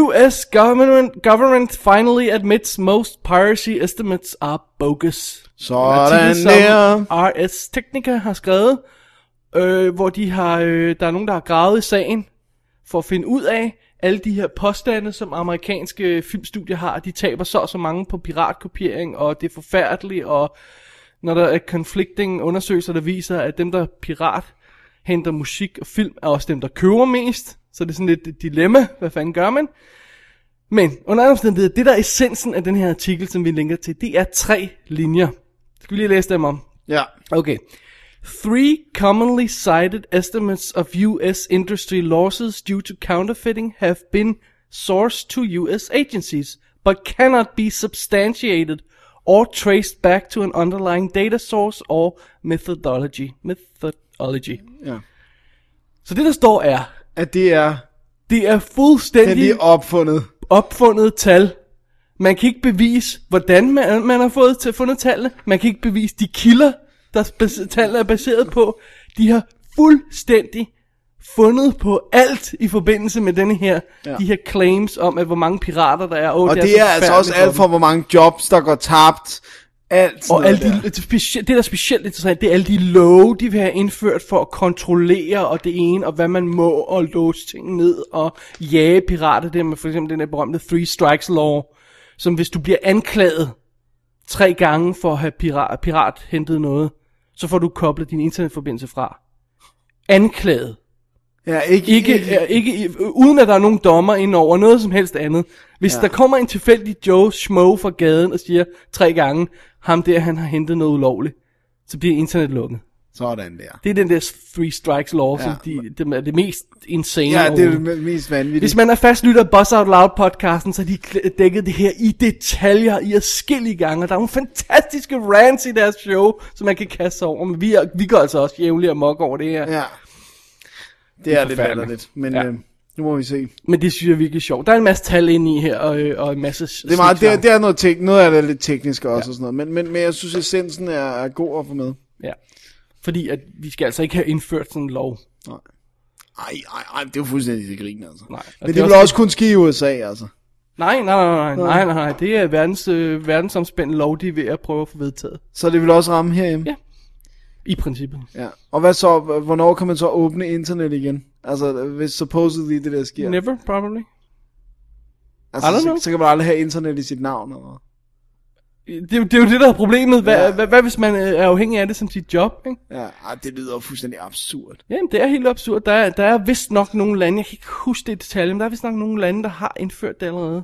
Speaker 6: US government, government finally admits most piracy estimates are bogus.
Speaker 5: Sådan
Speaker 6: artikel,
Speaker 5: der.
Speaker 6: som RS Technica har skrevet, øh, hvor de har, øh, der er nogen, der har gravet i sagen, for at finde ud af, alle de her påstande, som amerikanske filmstudier har, de taber så og så mange på piratkopiering, og det er forfærdeligt, og når der er conflicting undersøgelser, der viser, at dem, der pirat henter musik og film, er også dem, der køber mest, så det er sådan lidt et dilemma, hvad fanden gør man? Men under andre omstændigheder, det der er essensen af den her artikel, som vi linker til, det er tre linjer. Skal vi lige læse dem om?
Speaker 5: Ja.
Speaker 6: Okay. Three commonly cited estimates of U.S. industry losses due to counterfeiting have been sourced to U.S. agencies, but cannot be substantiated or traced back to an underlying data source or methodology. Methodology.
Speaker 5: Ja.
Speaker 6: Så det der står er,
Speaker 5: At det er
Speaker 6: det er
Speaker 5: den,
Speaker 6: fuldstændig
Speaker 5: de er opfundet.
Speaker 6: opfundet tal, Man kan ikke bevise, hvordan man, man har fået til, fundet tallene. Man kan ikke bevise de kilder, der er bas- tallene er baseret på. De har fuldstændig fundet på alt i forbindelse med denne her, ja.
Speaker 5: Ja.
Speaker 6: de her claims om, at hvor mange pirater der er. Åh,
Speaker 5: Og det er,
Speaker 6: så
Speaker 5: altså også
Speaker 6: forfærdeligt
Speaker 5: alt
Speaker 6: for
Speaker 5: for,
Speaker 6: dem.
Speaker 5: hvor mange jobs, der går tabt. Alt sådan
Speaker 6: Og
Speaker 5: noget
Speaker 6: alle de,
Speaker 5: der.
Speaker 6: det, specie- det, der er specielt interessant, det er alle de love, de vil have indført for at kontrollere og det ene, og hvad man må, og låse ting ned, og jage pirater. Det er med for eksempel den der berømte Three Strikes Law, som hvis du bliver anklaget tre gange for at have pirat, pirat hentet noget, så får du koblet din internetforbindelse fra. Anklaget.
Speaker 5: Ja, ikke,
Speaker 6: Ikke, øh, ikke, øh, uden at der er nogen dommer indover, noget som helst andet. Hvis ja. der kommer en tilfældig Joe Schmo fra gaden og siger tre gange, ham der han har hentet noget ulovligt, så bliver internet lukket.
Speaker 5: Sådan der.
Speaker 6: Det er den der three strikes law, ja. som
Speaker 5: Ja.
Speaker 6: de, dem er det mest insane
Speaker 5: Ja, det er
Speaker 6: overhovedet.
Speaker 5: det mest vanvittige.
Speaker 6: Hvis man er fast lytter af Buzz Out Loud podcasten, så har de kl- dækket det her i detaljer i adskillige gange. Og der er nogle fantastiske rants i deres show, som man kan kaste sig over. Men vi, er, vi går altså også jævnligt amok over det her.
Speaker 5: Ja. Det er lidt
Speaker 6: forfærdeligt.
Speaker 5: latterligt, men
Speaker 6: Ja.
Speaker 5: ja. øh, nu må vi se. Det
Speaker 6: Men det synes jeg er virkelig sjovt. Der er en masse tal ind i her, og, øh, og en masse Det
Speaker 5: er, meget, det, er, det er noget, tek- noget af det er lidt teknisk også, ja. og sådan noget, men, men, men jeg synes, essensen er, er god at få med.
Speaker 6: Ja. Fordi at vi skal altså ikke have indført sådan en lov.
Speaker 5: Ej, ej, ej, det er jo fuldstændig til grin, altså.
Speaker 6: Nej, og
Speaker 5: Nej,
Speaker 6: det er
Speaker 5: men det, vil
Speaker 6: også-
Speaker 5: også kun ske i USA, altså.
Speaker 6: Nej, nej, nej, nej, nej, nej, nej. Det er verdens, øh, verdensomspændende lov, de er ved at prøve at få vedtaget.
Speaker 5: Så det vil også ramme herhjemme.
Speaker 6: Ja. I princippet.
Speaker 5: ja. Og hvad så, hvornår kan man så åbne internet igen? Altså, hvis supposedly det der sker.
Speaker 6: Yeah. Never, probably. I
Speaker 5: altså,
Speaker 6: don't know.
Speaker 5: så, så, kan man aldrig have internet i sit navn, eller hvad?
Speaker 6: Det, er jo- det er jo det, der er problemet. Hvad, ja.
Speaker 5: Ja.
Speaker 6: hvad, hvad hvis man øh, er afhængig af det som sit job, ikke?
Speaker 5: Ja, ej, det lyder jo fuldstændig absurd.
Speaker 6: Jamen, det er helt absurd. Der er, der er vist nok nogle lande, jeg kan ikke huske det i detalje, men der er vist nok nogle lande, der har indført det allerede.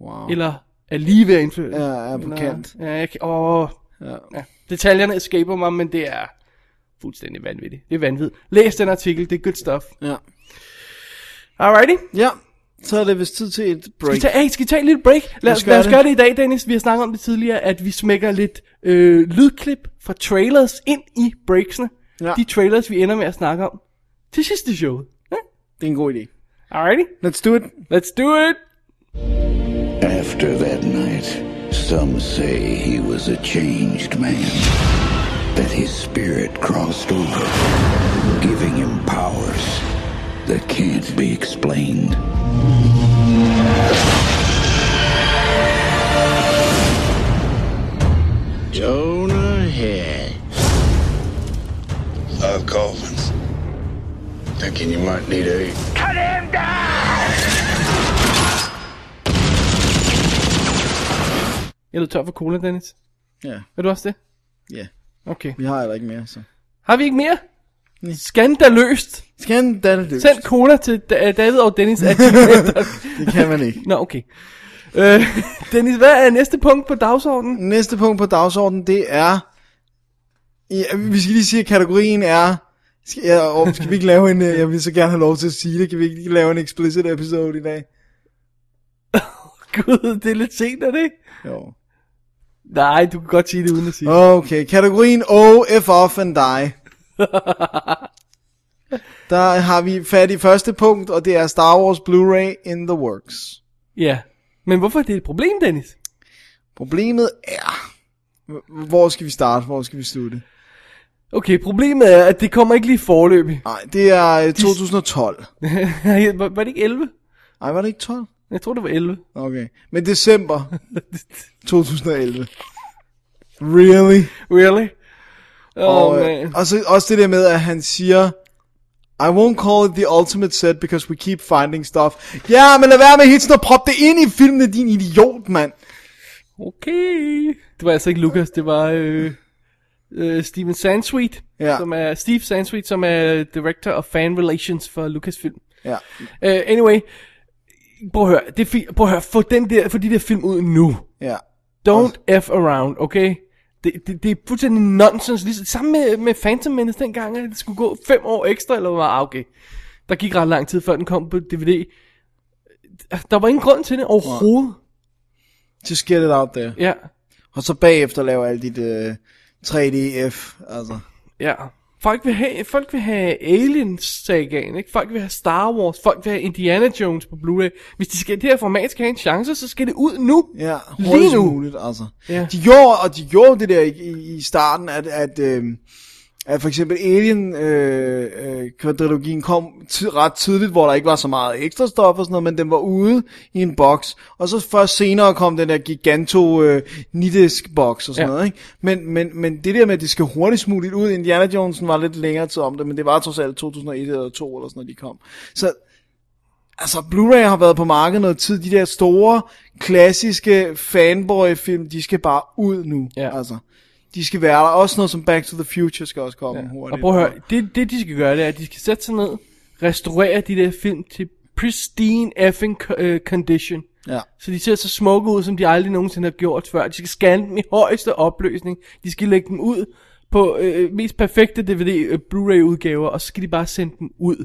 Speaker 5: Wow.
Speaker 6: Eller er lige ved at indføre det.
Speaker 5: Ja, er på kant.
Speaker 6: Ja, jeg kan, åh,
Speaker 5: Ja.
Speaker 6: Ja. Detaljerne escaper mig, men det er fuldstændig vanvittigt. Det er vanvittigt. Læs den artikel, det er good stuff.
Speaker 5: ja.
Speaker 6: Alrighty.
Speaker 5: Ja, så er det vist tid til et
Speaker 6: Skal
Speaker 5: break.
Speaker 6: vi tage, hey, skal vi tage en lille break? Lad,
Speaker 5: Lad
Speaker 6: os,
Speaker 5: os gøre
Speaker 6: lad os
Speaker 5: det.
Speaker 6: gøre det i dag, Dennis. Vi har snakket om det tidligere, at vi smækker lidt øh, lydklip fra trailers ind i breaksene. Ja.
Speaker 5: Ja.
Speaker 6: De trailers, vi ender med at snakke om til sidste show. Ja?
Speaker 5: Det er en god idé.
Speaker 6: Alrighty.
Speaker 5: Let's do it.
Speaker 6: Let's do it.
Speaker 2: After that night, some say he was a changed man. That his spirit crossed over, giving him powers that can't be explained.
Speaker 7: Jonah Head. Love coffins. Thinking you might need a.
Speaker 6: Jeg lød tør for cola, Dennis.
Speaker 5: Ja,
Speaker 6: Er du også det?
Speaker 5: ja.
Speaker 6: Okay.
Speaker 5: Vi har heller ikke mere, så.
Speaker 6: Har vi ikke mere? Skandaløst.
Speaker 5: Skandaløst.
Speaker 6: Send cola til Da- øh, David og Dennis at
Speaker 5: Det kan man ikke.
Speaker 6: Nå, okay. Øh, Dennis, hvad er næste punkt på dagsordenen?
Speaker 5: Næste punkt på dagsordenen, det er... Ja, vi skal lige sige, at kategorien er... Skal, ja, og skal vi ikke lave en... øh, Jeg vil så gerne have lov til at sige det. Kan vi ikke lige lave en explicit episode i dag?
Speaker 6: Gud, det er lidt sent, er det ikke?
Speaker 5: Jo.
Speaker 6: Nej, du kan godt sige det uden at sige det.
Speaker 5: Okay, kategorien O, F off and die. Der har vi fat i første punkt, og det er Star Wars Blu-ray in the works.
Speaker 6: Ja. Men hvorfor er det et problem, Dennis?
Speaker 5: Problemet er... H- Hvor skal vi starte? Hvor skal vi slutte?
Speaker 6: Okay, problemet er, at det kommer ikke lige forløb.
Speaker 5: Nej, det er øh, 2012.
Speaker 6: var, var det ikke 11?
Speaker 5: Nej, var det ikke 12?
Speaker 6: Jeg tror, det var 11.
Speaker 5: Okay. Men december 2011. Really?
Speaker 6: Really? Åh, oh,
Speaker 5: og, øh,
Speaker 6: man.
Speaker 5: og så også det der med, at han siger... I won't call it the ultimate set, because we keep finding stuff. Ja, men lad være med hele tiden at proppe det ind i filmene, din idiot, mand.
Speaker 6: Okay. Det var altså ikke Lucas, det var øh, øh, Steven Sansweet,
Speaker 5: Ja.
Speaker 6: som er Steve Sansweet, som er director of fan relations for Lucasfilm.
Speaker 5: Ja,
Speaker 6: Uh, anyway, prøv at høre, det er fint. Prøv at høre, få, den der, få de der film ud nu.
Speaker 5: ja.
Speaker 6: Don't F around, okay? Det, det, det er fuldstændig nonsens. Ligesom, sammen med, med Phantom Menace dengang, at det skulle gå fem år ekstra, eller hvad? Ah, okay. Der gik ret lang tid, før den kom på DVD. Der var ingen grund til det overhovedet.
Speaker 5: Just get it out there.
Speaker 6: Ja,
Speaker 5: Og så bagefter lave alt dit øh, 3DF, altså.
Speaker 6: ja. Folk vil have, folk vil have Aliens-sagaen, ikke? Folk vil have Star Wars, folk vil have Indiana Jones på Blu-ray. Hvis de skal, det her format skal have en chance, så skal det ud nu.
Speaker 5: Ja,
Speaker 6: lige
Speaker 5: hurtigst
Speaker 6: nu.
Speaker 5: muligt, altså.
Speaker 6: Ja.
Speaker 5: De gjorde, og de gjorde det der i, i- i starten, at, at, øh, at for eksempel Alien øh, øh, kvadrilogien kom ti- ret tidligt, hvor der ikke var så meget ekstra stof og sådan noget, men den var ude i en boks. Og så først senere kom den der giganto øh, nidisk boks og sådan
Speaker 6: Ja.
Speaker 5: ja. noget, ikke? Men, men, men det der med, at det skal hurtigst muligt ud, Indiana Jonesen var lidt længere tid om det, men det var trods alt 2001 eller 2 eller sådan noget, de kom. Så Altså, Blu-ray har været på markedet noget tid. De der store, klassiske fanboy-film, de skal bare ud nu.
Speaker 6: Ja.
Speaker 5: Altså, de skal være der. Også noget som Back to the Future skal også komme ja. hurtigt.
Speaker 6: Og prøv at høre, det, det de skal gøre, det er, at de skal sætte sig ned, restaurere de der film til pristine effing co- øh, condition.
Speaker 5: Ja.
Speaker 6: Så de ser så smukke ud, som de aldrig nogensinde har gjort før. De skal scanne dem i højeste opløsning. De skal lægge dem ud på øh, mest perfekte DVD øh, Blu-ray udgaver, og så skal de bare sende dem ud.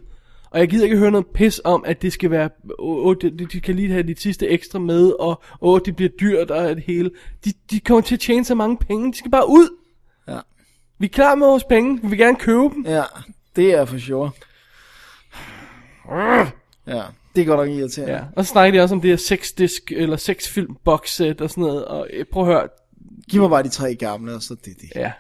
Speaker 6: Og jeg gider ikke høre noget pis om, at det skal være, åh, åh, de, de kan lige have de sidste ekstra med, og åh, det bliver dyrt og det hele. De, de kommer til at tjene så mange penge, de skal bare ud.
Speaker 5: Ja.
Speaker 6: Vi er klar med vores penge, vi vil gerne købe dem.
Speaker 5: Ja, det er for sure. Ja, det er godt nok irriterende.
Speaker 6: Ja, og så snakker de også om det her seks disk, eller seks film box set og sådan noget, og øh, prøv at høre,
Speaker 5: Giv mig bare de tre gamle, og så det er det.
Speaker 6: ja.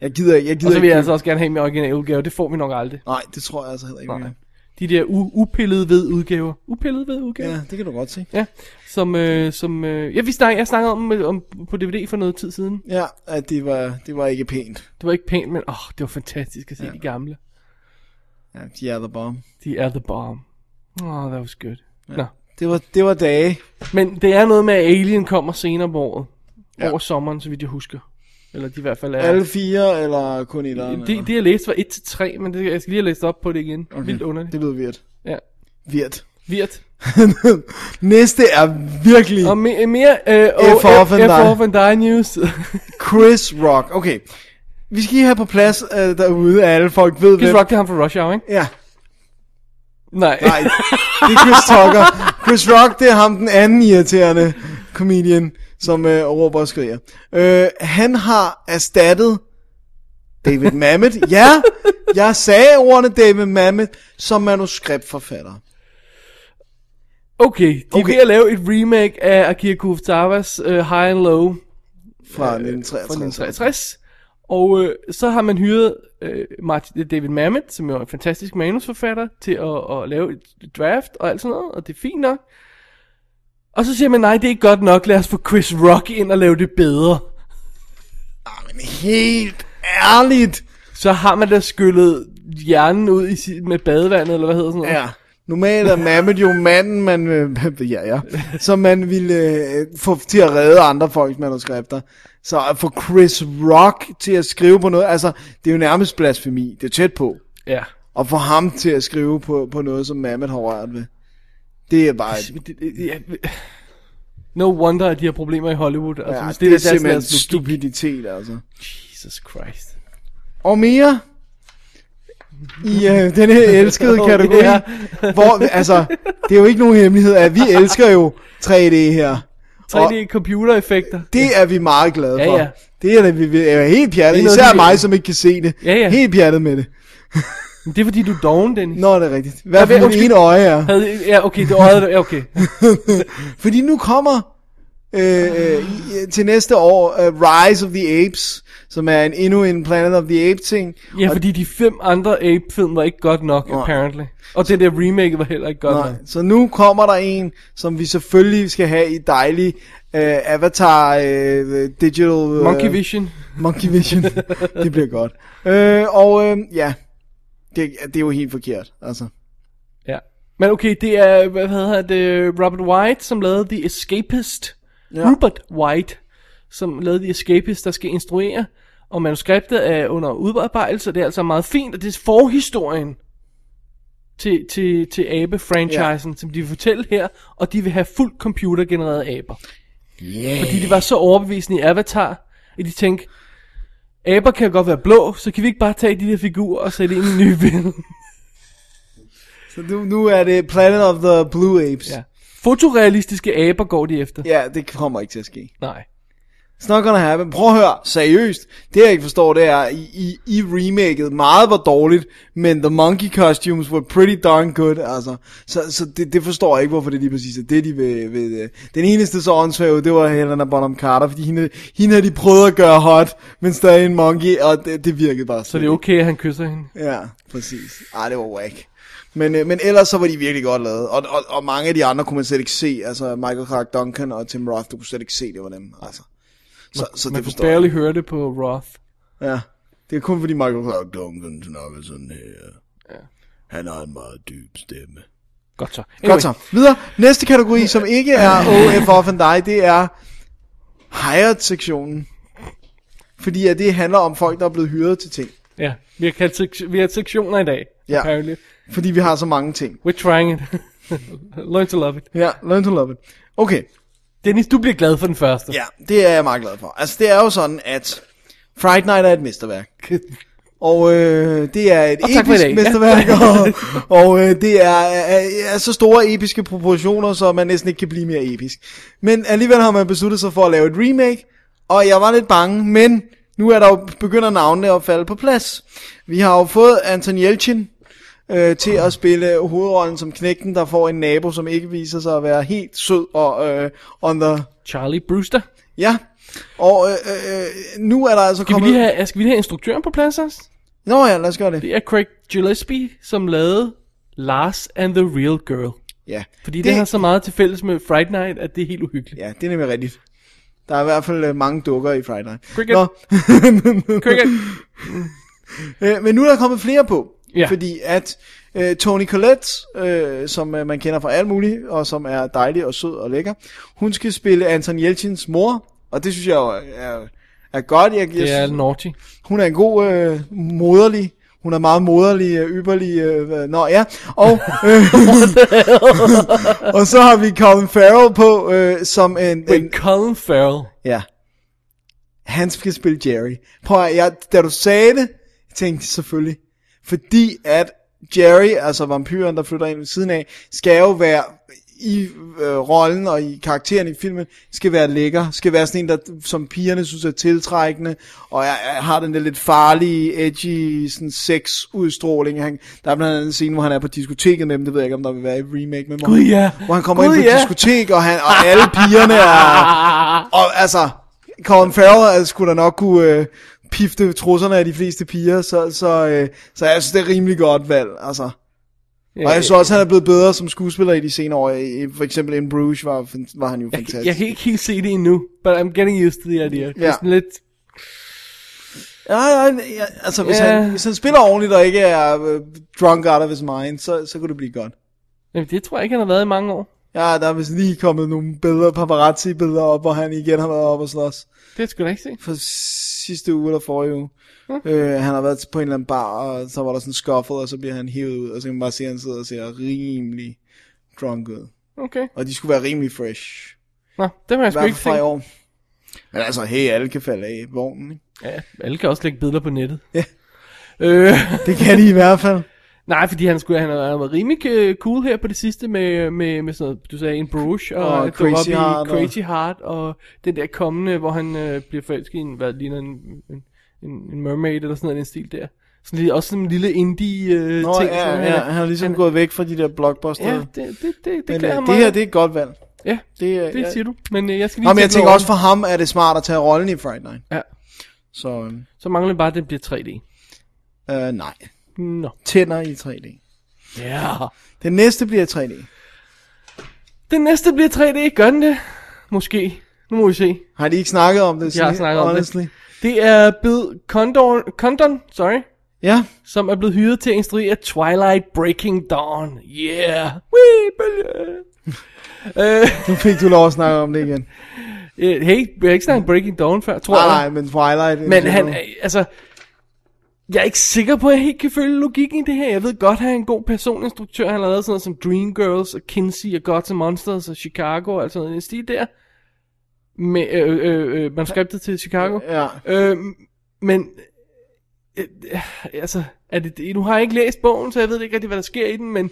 Speaker 5: Jeg gider ikke. Jeg gider
Speaker 6: Og så vil jeg
Speaker 5: ikke.
Speaker 6: altså også gerne have min original udgave, det får vi nok aldrig. Øh,
Speaker 5: Nej, det tror jeg altså heller ikke. vi
Speaker 6: Nej.
Speaker 5: gør.
Speaker 6: De der u- upillede ved udgaver. Upillede ved udgaver?
Speaker 5: Ja, det kan du godt se.
Speaker 6: Ja, som, øh, som øh, ja, vi snakkede, jeg snakkede om, øh, om på DVD for noget tid siden.
Speaker 5: Ja, at det var, det var ikke pænt.
Speaker 6: Det var ikke pænt, men åh, oh, det var fantastisk at se ja. de gamle.
Speaker 5: Ja, de er the bomb.
Speaker 6: De er the bomb. Oh, that was good. Ja. Nå.
Speaker 5: Det var, det var dage.
Speaker 6: Men det er noget med, at Alien kommer senere på året. Ja. Over sommeren, så vidt jeg husker. Eller de i hvert fald er...
Speaker 5: Alle fire, eller kun et eller andet?
Speaker 6: Det, det jeg læste var 1-3, men det, jeg skal lige have læst op på det igen. Okay. Vildt underligt.
Speaker 5: det lyder weird.
Speaker 6: Ja.
Speaker 5: Weird.
Speaker 6: Virt.
Speaker 5: Næste er virkelig
Speaker 6: Og me, mere... Øh, oh,
Speaker 5: F off and
Speaker 6: F-
Speaker 5: die.
Speaker 6: F off and die news.
Speaker 5: Chris Rock. Okay, vi skal lige have på plads øh, derude, at alle folk ved,
Speaker 6: Chris
Speaker 5: hvem...
Speaker 6: Rock, det er ham fra Rush Hour, ikke?
Speaker 5: Ja,
Speaker 6: Nej.
Speaker 5: nej, det er Chris Tucker. Chris Rock, det er ham, den anden irriterende comedian, som øh, råber og skriger. Øh, han har erstattet David Mamet. Ja, jeg sagde ordene David Mamet som manuskriptforfatter.
Speaker 6: Okay, de er
Speaker 5: Okay.
Speaker 6: ved at lave et remake af Akira Kurosawa's uh, High and Low
Speaker 5: Fra
Speaker 6: fra
Speaker 5: 1963.
Speaker 6: 1963. Og øh, så har man hyret øh, Martin, David Mamet, som jo er en fantastisk manusforfatter, til at, at lave et draft og alt sådan noget, og det er fint nok. Og så siger man, nej, det er ikke godt nok, lad os få Chris Rock ind og lave det bedre.
Speaker 5: Ah, men helt ærligt.
Speaker 6: Så har man da skyllet hjernen ud i, si- med badevandet, eller hvad hedder sådan noget.
Speaker 5: Ja. Normalt er Mamet jo manden, man, øh, ja, ja, som man ville øh, få til at redde andre folks manuskripter. Så at få Chris Rock til at skrive på noget, altså det er jo nærmest blasfemi, det er tæt på.
Speaker 6: ja.
Speaker 5: Og få ham til at skrive på, på noget, som Mamet har rørt ved. Det er bare... et-
Speaker 6: Men det- det- ja. No wonder, at de har problemer i Hollywood. Altså,
Speaker 5: Ja,
Speaker 6: hvis
Speaker 5: det, det er
Speaker 6: deres- deres
Speaker 5: simpelthen
Speaker 6: logik.
Speaker 5: stupiditet, altså.
Speaker 6: Jesus Christ.
Speaker 5: og mere i øh, den her elskede
Speaker 6: Åh,
Speaker 5: kategori,
Speaker 6: ja.
Speaker 5: hvor, altså, det er jo ikke nogen hemmelighed, at vi elsker jo 3D her.
Speaker 6: 3D computereffekter.
Speaker 5: Det er vi meget glade
Speaker 6: Ja,
Speaker 5: for.
Speaker 6: ja.
Speaker 5: Det er da, vi vi er helt pjattet,
Speaker 6: Det er noget,
Speaker 5: især
Speaker 6: vi-
Speaker 5: mig, som ikke kan se det.
Speaker 6: Ja, ja.
Speaker 5: Helt pjattet med det.
Speaker 6: Men det er fordi, du er doven, Dennis.
Speaker 5: Nå, det er rigtigt. Hvad for
Speaker 6: ved-
Speaker 5: mit
Speaker 6: undskyld.
Speaker 5: ene øje er.
Speaker 6: Havde, ja, okay, det øjede ja, okay.
Speaker 5: Fordi nu kommer øh, øh, i- til næste år uh, Rise of the Apes, som er en, endnu en Planet of the Apes ting.
Speaker 6: Ja, fordi de fem andre Ape-film var ikke godt nok,
Speaker 5: Nej.
Speaker 6: apparently. Og det der remake var heller ikke godt
Speaker 5: Nej,
Speaker 6: nok.
Speaker 5: så nu kommer der en, som vi selvfølgelig skal have i dejlig øh, Avatar øh, Digital... Øh,
Speaker 6: Monkey Vision.
Speaker 5: Monkey Vision. det bliver godt. Øh, og øh, ja, det, det er jo helt forkert, altså.
Speaker 6: Ja. Men okay, det er, hvad hedder det, Robert White, som lavede The Escapist. Ja. Rupert White, som lavede The Escapist, der skal instruere. Og manuskriptet er under udarbejdelse, det er altså meget fint, og det er forhistorien til, til, til abe-franchisen, ja. som de vil fortælle her, og de vil have fuldt computergenererede aber. Yeah. Fordi de var så overbevisende i Avatar, at de tænkte, aber kan godt være blå, så kan vi ikke bare tage de der figurer og sætte ind i en ny billede.
Speaker 5: Så nu, nu er det Planet of the Blue Apes.
Speaker 6: Ja. Fotorealistiske aber går de efter. Ja.
Speaker 5: ja, det kommer ikke til at ske.
Speaker 6: Nej.
Speaker 5: It's not gonna happen. Prøv at høre, seriøst. Det jeg ikke forstår, det er, I, I, I remaket meget var dårligt, men the monkey costumes were pretty darn good, altså. Så, så det, det, forstår jeg ikke, hvorfor det lige præcis er det, de vil... vil øh. den eneste så åndssvage, det var Helena Bonham Carter, fordi hende, hende har de prøvet at gøre hot, men stadig en monkey, og det, det virkede bare
Speaker 6: Så det er okay, at han kysser hende.
Speaker 5: Ja, præcis. Ej, det var whack. Men, øh, men ellers så var de virkelig godt lavet, og, og, og mange af de andre kunne man slet ikke se, altså Michael Clark Duncan og Tim Roth, du kunne slet ikke se, det var dem, altså. Så, så
Speaker 6: Man
Speaker 5: det
Speaker 6: kunne
Speaker 5: forstår jeg.
Speaker 6: barely høre det på Roth.
Speaker 5: Ja, det er kun fordi Michael Clark Duncan snakker sådan her. Ja. Han har en meget dyb stemme.
Speaker 6: Godt så.
Speaker 5: Anyway. Godt så. Videre. Næste kategori, som ikke er OF off and die, det er hired-sektionen. Fordi at det handler om folk, der er blevet hyret til ting.
Speaker 6: Ja, vi har, kaldt sek- vi har sektioner i dag.
Speaker 5: Ja.
Speaker 6: Apparently.
Speaker 5: Fordi vi har så mange ting.
Speaker 6: We're trying it. Learn to love it.
Speaker 5: Ja, learn to love it. Okay,
Speaker 6: Dennis, du bliver glad for den første.
Speaker 5: Ja, det er jeg meget glad for. Altså, det er jo sådan, at Fright Night er et mesterværk. Og øh, det er et
Speaker 6: Og tak for i
Speaker 5: episk
Speaker 6: dag.
Speaker 5: mesterværk, og, og øh, det er, er, er så store episke proportioner, så man næsten ikke kan blive mere episk. Men alligevel har man besluttet sig for at lave et remake, og jeg var lidt bange, men nu er der jo begynder navnene at falde på plads. Vi har jo fået Anton Yelchin øh, til at spille hovedrollen som knægten, der får en nabo, som ikke viser sig at være helt sød og øh, on the
Speaker 6: Charlie Brewster.
Speaker 5: Ja, og øh, øh, øh, nu er der altså
Speaker 6: Skal vi,
Speaker 5: kommet...
Speaker 6: lige have, skal vi lige have instruktøren på plads også?
Speaker 5: Nå ja, lad os gøre det.
Speaker 6: Det er Craig Gillespie, som lavede Lars and the Real Girl.
Speaker 5: Ja,
Speaker 6: Fordi det, det har så meget til fælles med Fright Night, at det er helt uhyggeligt.
Speaker 5: ja, det er nemlig rigtigt. Der er i hvert fald øh, mange dukker i Friday Night.
Speaker 6: Cricket. Cricket.
Speaker 5: Cricket. Øh, men nu er der kommet flere på.
Speaker 6: Ja.
Speaker 5: Fordi at øh, Tony Collette, øh, som øh, man kender fra alt muligt, og som er dejlig og sød og lækker, hun skal spille Anton Yelchins mor, og det synes jeg jo er, er godt. Jeg, jeg
Speaker 6: Det er
Speaker 5: synes-
Speaker 6: naughty.
Speaker 5: Hun er en god øh, moderlig. Hun er meget moderlig, øh, ypperlig. Øh, øh, nå ja. Og, øh, og så har vi Colin Farrell på, øh, som en...
Speaker 6: Men
Speaker 5: en
Speaker 6: Colin Farrell.
Speaker 5: ja. Han skal spille Jerry. Prøv at, jeg, da du sagde det, tænkte jeg selvfølgelig. Fordi at Jerry, altså vampyren, der flytter ind ved siden af, skal jo være i øh, rollen og i karakteren i filmen, skal være lækker, skal være sådan en, der, som pigerne synes er tiltrækkende, og jeg, jeg har den der lidt farlige, edgy sådan sex udstråling. Han, der er blandt andet en scene, hvor han er på diskoteket med dem, det ved jeg ikke, om der vil være i remake med mig.
Speaker 6: Gud, ja.
Speaker 5: Hvor han kommer
Speaker 6: Gud,
Speaker 5: ind på
Speaker 6: ja.
Speaker 5: et diskotek, og, han, og alle pigerne er... Og altså, Colin Farrell altså, skulle da nok kunne øh, pifte trusserne af de fleste piger, så, så, øh, så jeg synes, det er rimelig godt valg, altså. Og jeg synes også, han er blevet bedre som skuespiller i de senere år. I- For eksempel in Bruges var, fan- var han jo
Speaker 6: jeg,
Speaker 5: fantastisk.
Speaker 6: jeg kan ikke helt se det endnu, but I'm getting used to the idea. Det er
Speaker 5: Ja.
Speaker 6: sådan lidt...
Speaker 5: Ja, ja, ja, altså, hvis,
Speaker 6: Ja.
Speaker 5: han, hvis han spiller ordentligt og ikke er øh, drunk out of his mind, så, så kunne det blive godt.
Speaker 6: Jamen, det tror jeg ikke, han har været i mange år.
Speaker 5: Ja, der er vist lige kommet nogle billeder, paparazzi-billeder op, hvor han igen har været op og slås.
Speaker 6: Det skulle jeg ikke se.
Speaker 5: for sidste uge eller forrige uge. Øh, han har været på en eller anden bar, og så var der sådan skuffet, og så bliver han hævet ud, og så kan man bare se, at han sidder og ser rimelig drunk ud.
Speaker 6: Okay.
Speaker 5: Og de skulle være rimelig fresh.
Speaker 6: Nå, det var jeg
Speaker 5: I
Speaker 6: sgu
Speaker 5: hvert
Speaker 6: ikke
Speaker 5: fald fra i
Speaker 6: se.
Speaker 5: år. Men altså, hey, alle kan falde af i vognen, ikke?
Speaker 6: Ja, alle kan også lægge billeder på nettet.
Speaker 5: Ja.
Speaker 6: Øh,
Speaker 5: Det kan de i hvert fald.
Speaker 6: nej, fordi han skulle han har han har været rimelig øh, cool her på det sidste med, med, med sådan noget, du sagde, en Bruges og,
Speaker 5: Og
Speaker 6: og
Speaker 5: Crazy
Speaker 6: Crazy,
Speaker 5: Heart og-
Speaker 6: Heart, Crazy Heart og den der kommende, hvor han øh, bliver forelsket i en, hvad ligner en, en, en, en mermaid eller sådan noget, i den stil der. Sådan lige, også sådan en lille indie øh,
Speaker 5: Nå,
Speaker 6: ting.
Speaker 5: ja,
Speaker 6: sådan,
Speaker 5: ja, han har ligesom han, gået væk fra de der blockbuster.
Speaker 6: Ja, det, det, det, det
Speaker 5: men,
Speaker 6: klæder
Speaker 5: øh,
Speaker 6: ham
Speaker 5: det her,
Speaker 6: meget.
Speaker 5: det er et godt valg.
Speaker 6: Ja,
Speaker 5: Det, er-
Speaker 6: det
Speaker 5: jeg,
Speaker 6: siger du. Men øh, jeg skal lige
Speaker 5: Nå, men jeg
Speaker 6: tænke
Speaker 5: tænker
Speaker 6: over
Speaker 5: også, for ham er det smart at tage rollen i Friday Night.
Speaker 6: det. Ja,
Speaker 5: Så
Speaker 6: så mangler det bare, at den bliver 3D.
Speaker 5: øh, nej.
Speaker 6: Nå.
Speaker 5: Tænder i 3D.
Speaker 6: Ja. Yeah.
Speaker 5: Den næste bliver 3D.
Speaker 6: Den næste bliver 3D, gør den det? Måske. Nu må vi se.
Speaker 5: Har de ikke snakket om det?
Speaker 6: Jeg har
Speaker 5: sige-
Speaker 6: snakket om
Speaker 5: honestly?
Speaker 6: det. Det er Bill Condon, Condon sorry,
Speaker 5: Ja,
Speaker 6: som er blevet hyret til at instruere Twilight Breaking Dawn. Yeah. Wee, bølge. øh,
Speaker 5: nu fik du lov at snakke om det igen.
Speaker 6: øh, hey, vi har ikke snakket Breaking Dawn før, tror
Speaker 5: Nej,
Speaker 6: jeg.
Speaker 5: nej, men Twilight... in
Speaker 6: Men
Speaker 5: general.
Speaker 6: han, er- altså, jeg er ikke sikker på, at jeg helt kan følge logikken i det her. Jeg ved godt, at han er en god personinstruktør. Han har lavet sådan noget som Dreamgirls og Kinsey og Gods and Monsters og Chicago og alt sådan noget. i Den stil der. Med øh, øh, øh, manuskriptet til Chicago.
Speaker 5: Ja,
Speaker 6: Øh, men, øh, øh, altså, er det, det- nu har jeg ikke læst bogen, så jeg ved ikke rigtig, hvad der sker i den, men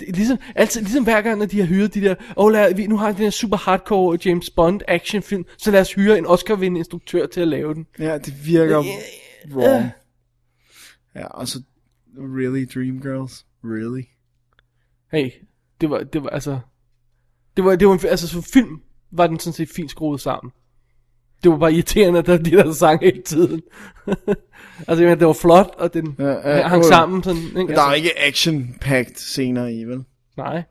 Speaker 6: Det er ligesom, altid, ligesom hver gang, når de har hyret de der, oh, lad, vi, nu har vi den her super hardcore James Bond actionfilm, så lad os hyre en Oscar-vindende instruktør til at lave den.
Speaker 5: Ja, det virker
Speaker 6: Øh.
Speaker 5: wrong. Ja, og så really Dreamgirls, really.
Speaker 6: Hey, det var, det var altså... Det var, det var en, altså, som film var den sådan set fint skruet sammen. Det var bare irriterende, at der var de der sang hele tiden. altså, jeg mener, det var flot, og den ja,
Speaker 5: Ja, ja,
Speaker 6: ja, hang
Speaker 5: jo, jo.
Speaker 6: sammen sådan. Ikke?
Speaker 5: Men
Speaker 6: Altså,
Speaker 5: der er jo ikke action-packed scener i, vel?
Speaker 6: Nej.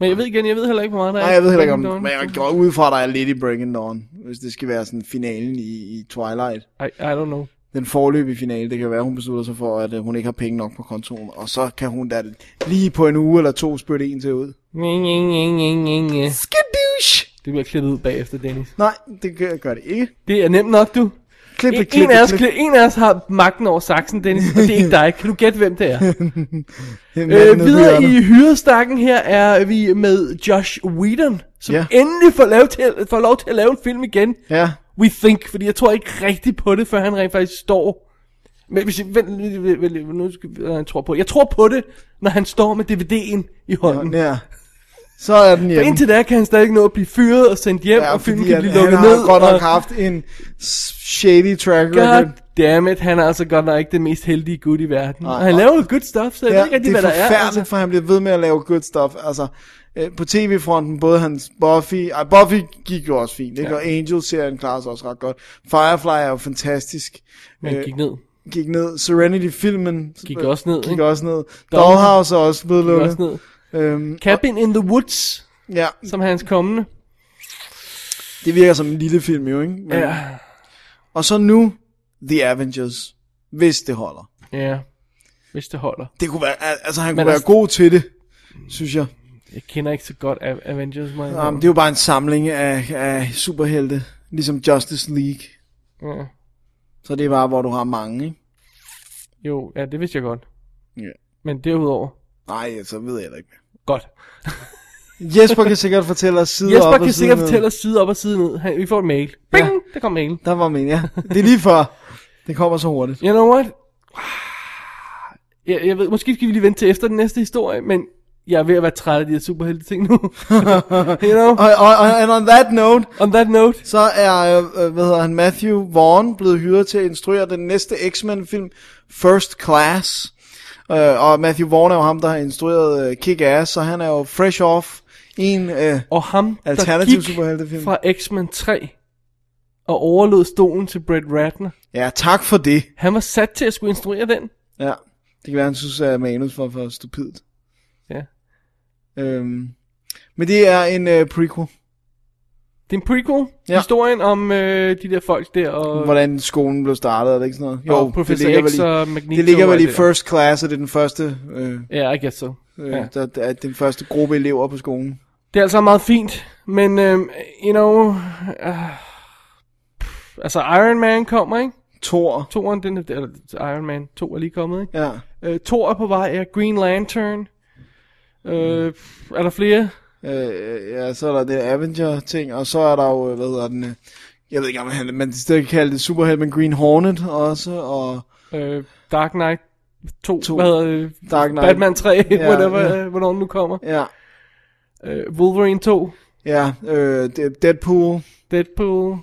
Speaker 6: Men jeg ved igen, jeg ved heller ikke, hvor meget der er.
Speaker 5: Nej, jeg ved heller ikke om
Speaker 6: Breaking
Speaker 5: den,
Speaker 6: Dawn.
Speaker 5: men jeg går ud fra, at der er lidt i Breaking Dawn, hvis det skal være sådan finalen i, i Twilight.
Speaker 6: I, I don't know.
Speaker 5: Den forløbige finale, det kan være, hun beslutter sig for, at øh, hun ikke har penge nok på kontoen, og så kan hun da lige på en uge eller to spytte en til ud.
Speaker 6: Nye, nye, nye, nye, nye, nye.
Speaker 5: Skadoosh!
Speaker 6: Det bliver klippet ud bagefter, Dennis.
Speaker 5: Nej, det gør, gør det ikke.
Speaker 6: Det er nemt nok, du.
Speaker 5: Klip
Speaker 6: En,
Speaker 5: det, klip
Speaker 6: en, af
Speaker 5: det,
Speaker 6: os,
Speaker 5: klip.
Speaker 6: klip, en af os har magten over saksen, Dennis, og det er ikke dig. Kan du gætte, hvem det er?
Speaker 5: Manden
Speaker 6: Øh,
Speaker 5: nede på
Speaker 6: videre
Speaker 5: hjørnet.
Speaker 6: i hyrestakken her er vi med Josh Whedon, som
Speaker 5: Ja.
Speaker 6: yeah. endelig får lov, til, får lov til at lave en film igen.
Speaker 5: Ja,
Speaker 6: We think, fordi jeg tror ikke rigtigt på det, før han rent faktisk står. Men hvis jeg, vent, vent, vent, vent, nu skal vi, øh, jeg tror på det. Jeg tror på det, når han står med DVD'en i hånden. Ja,
Speaker 5: ja. Så er den hjemme.
Speaker 6: Indtil da kan han stadig nå at blive fyret og sendt hjem, ja, og filmen
Speaker 5: fordi
Speaker 6: kan
Speaker 5: at
Speaker 6: blive
Speaker 5: han
Speaker 6: lukket
Speaker 5: har
Speaker 6: ned.
Speaker 5: godt nok
Speaker 6: og-
Speaker 5: haft en s- shady track record.
Speaker 6: God damn it, han er altså godt nok ikke den mest heldige gut i verden.
Speaker 5: Nej,
Speaker 6: og han
Speaker 5: og-
Speaker 6: laver jo good stuff, så jeg ja, ved
Speaker 5: Ja,
Speaker 6: ikke rigtig,
Speaker 5: det er
Speaker 6: hvad der er.
Speaker 5: forfærdeligt,
Speaker 6: Altså.
Speaker 5: for han bliver ved med at lave good stuff. Altså, øh, på tv-fronten, både hans Buffy... Ej, Buffy gik jo også fint, ikke? Ja. Og Angel-serien klarer sig også ret godt. Firefly er jo fantastisk.
Speaker 6: Men
Speaker 5: Øh,
Speaker 6: gik ned.
Speaker 5: gik ned. Serenity-filmen...
Speaker 6: Gik også ned,
Speaker 5: Gik
Speaker 6: ikke?
Speaker 5: også ned.
Speaker 6: Dog-
Speaker 5: Dollhouse er også blevet
Speaker 6: Gik
Speaker 5: lukket.
Speaker 6: også ned.
Speaker 5: Øhm,
Speaker 6: Cabin in the Woods,
Speaker 5: ja,
Speaker 6: som er hans kommende.
Speaker 5: det virker som en lille film jo, ikke? Men,
Speaker 6: Ja.
Speaker 5: Og så nu, The Avengers. Hvis det holder.
Speaker 6: Ja. Hvis det holder.
Speaker 5: Det kunne være... al- Altså, han
Speaker 6: Men
Speaker 5: kunne være
Speaker 6: altså-
Speaker 5: god til det, synes jeg.
Speaker 6: Jeg kender ikke så godt A- Avengers, mig.
Speaker 5: Um, det er jo bare en samling af, af superhelte, ligesom Justice League.
Speaker 6: ja.
Speaker 5: Så det er bare, hvor du har mange, ikke?
Speaker 6: Jo, ja, det vidste jeg godt.
Speaker 5: Ja.
Speaker 6: Men derudover,
Speaker 5: Nej, så ved jeg heller ikke. mere.
Speaker 6: godt.
Speaker 5: Jesper kan sikkert fortælle os side op
Speaker 6: Jesper
Speaker 5: og
Speaker 6: kan
Speaker 5: side
Speaker 6: sikkert
Speaker 5: ned.
Speaker 6: fortælle os side op og side ned. Han- Vi får en mail. Bing! Ja. Der kom mailen.
Speaker 5: Der var min, ja. Det er lige for. Det kommer så hurtigt.
Speaker 6: You know what? Jeg, jeg ved, måske skal vi lige vente til efter den næste historie, men jeg er ved at være træt af de her superhelte ting nu. you know?
Speaker 5: Og, og, og and on that note,
Speaker 6: On that note,
Speaker 5: så er, øh, øh, hvad hedder han, Matthew Vaughn blevet hyret til at instruere den næste X-Men-film, First Class. Øh, og Matthew Vaughn er jo ham, der har instrueret øh, Kick-Ass, så han er jo fresh off en... Øh,
Speaker 6: og ham, der
Speaker 5: Alternativ
Speaker 6: gik
Speaker 5: superheltefilm.
Speaker 6: fra X-Men 3 og overlod stolen til Brett Ratner,
Speaker 5: ja, tak for det.
Speaker 6: han var sat til at skulle instruere den.
Speaker 5: Ja, det kan være, han synes, at manus var for stupidt.
Speaker 6: Ja.
Speaker 5: Øhm, men det er en øh, prequel.
Speaker 6: Det er en prequel.
Speaker 5: Ja.
Speaker 6: Ja. Historien om øh, de der folk der og,
Speaker 5: Hvordan skolen blev startet, er det ikke sådan noget?
Speaker 6: og Professor X og Magneto.
Speaker 5: det ligger
Speaker 6: og
Speaker 5: vel i
Speaker 6: alt det der.
Speaker 5: first class, og det er den første, øh,
Speaker 6: Ja, I guess so.
Speaker 5: øh,
Speaker 6: Ja.
Speaker 5: der, der, er den første gruppe elever på skolen.
Speaker 6: Det er altså meget fint, men øh, you know... Øh, pff, altså Iron Man kommer, ikke?
Speaker 5: Thor.
Speaker 6: Toren, den, er- eller Iron Man 2 er lige kommet, ikke?
Speaker 5: Ja.
Speaker 6: Øh, Thor er på vej, ja. Green Lantern. Øh, pff, er der flere?
Speaker 5: Øh, ja, så er der det Avenger-ting, og så er der jo, øh, hvad hedder den, øh, jeg ved ikke, om han, man stadig kan kalde det Superheld, men Green Hornet også, og
Speaker 6: Øh, Dark Knight 2,
Speaker 5: To.
Speaker 6: hvad hedder det?
Speaker 5: Dark Knight.
Speaker 6: Batman 3,
Speaker 5: Ja,
Speaker 6: ja, whatever,
Speaker 5: ja.
Speaker 6: ja. hvornår den nu kommer.
Speaker 5: Ja,
Speaker 6: Øh, Wolverine 2,
Speaker 5: ja øh, det- Deadpool.
Speaker 6: Deadpool.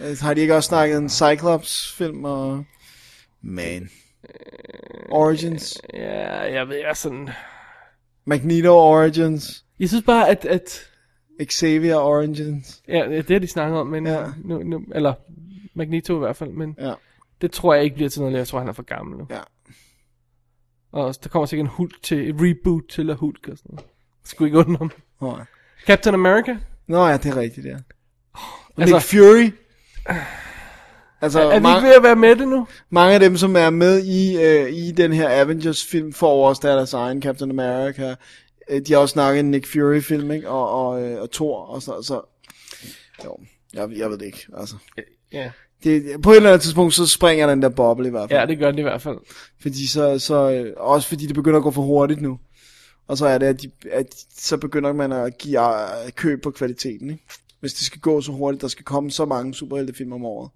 Speaker 5: Øh, Har de ikke også snakket en Cyclops-film og... Man.
Speaker 6: Øh,
Speaker 5: Origins.
Speaker 6: Ja, jeg ved, jeg er sådan...
Speaker 5: Magneto Origins.
Speaker 6: Jeg synes bare, at... at
Speaker 5: Xavier Origins.
Speaker 6: ja, det har de snakket om, men...
Speaker 5: Ja.
Speaker 6: Ja. Nu, nu, eller Magneto i hvert fald, men...
Speaker 5: Ja.
Speaker 6: Det tror jeg ikke bliver til noget, jeg tror, han er for gammel nu.
Speaker 5: Ja.
Speaker 6: Og der kommer sikkert en Hulk til, et reboot til af Hulk og sådan noget. Skulle ikke undre om.
Speaker 5: Nå, ja.
Speaker 6: Captain America?
Speaker 5: Nå ja, det er rigtigt, ja. Altså,
Speaker 6: Altså, Øh,
Speaker 5: Nick Fury. Altså,
Speaker 6: er vi
Speaker 5: ma-
Speaker 6: ikke ved at være med det nu?
Speaker 5: mange af dem, som er med i, øh, i den her Avengers-film, får også der deres egen Captain America. Øh, De har også snakket en Nick Fury-film, ikke? Og, og, øh, og Thor og sådan så. Jo, jeg, jeg ved det ikke, altså.
Speaker 6: Ja.
Speaker 5: Det, på et eller andet tidspunkt, så springer den der boble i hvert fald.
Speaker 6: Ja, det gør det i hvert fald.
Speaker 5: Fordi så, så, øh, også fordi det begynder at gå for hurtigt nu. Og så er det, at, de, at så begynder man at give øh, køb på kvaliteten, ikke? Hvis det skal gå så hurtigt, der skal komme så mange superheltefilm om året,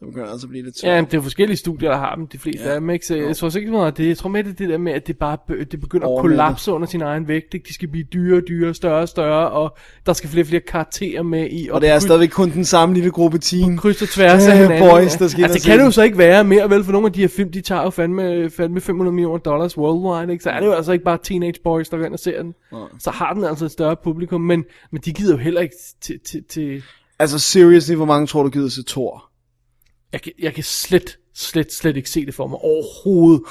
Speaker 5: Så begynder det altså at blive lidt
Speaker 6: Ja,
Speaker 5: svært.
Speaker 6: men det er jo forskellige studier, der har dem, de fleste ja. af dem, ikke? Så jeg tror så ikke så meget af det. Jeg tror med det, er det der med, at det bare be- det begynder at
Speaker 5: Overmættet.
Speaker 6: kollapse under sin egen vægt, ikke? De skal blive dyrere og dyrere, større og større, og der skal flere og flere karakterer med i.
Speaker 5: Og det er
Speaker 6: kryds-
Speaker 5: stadigvæk kun den samme lille gruppe team.
Speaker 6: kryds og tværs
Speaker 5: Øh,
Speaker 6: af hinanden.
Speaker 5: boys, der skal ind
Speaker 6: altså,
Speaker 5: og
Speaker 6: det
Speaker 5: se
Speaker 6: kan det jo
Speaker 5: den.
Speaker 6: så ikke være mere vel, for nogle af de her film, de tager jo fandme, fandme 500 millioner dollars worldwide, ikke? Så er det jo altså ikke bare teenage boys, der går ind og ser den. Så har den altså et større publikum, men, men de gider jo heller ikke til... til, til
Speaker 5: Altså, seriously, hvor mange tror du gider se Thor?
Speaker 6: jeg, kan, jeg kan slet, slet, slet ikke se det for mig overhovedet.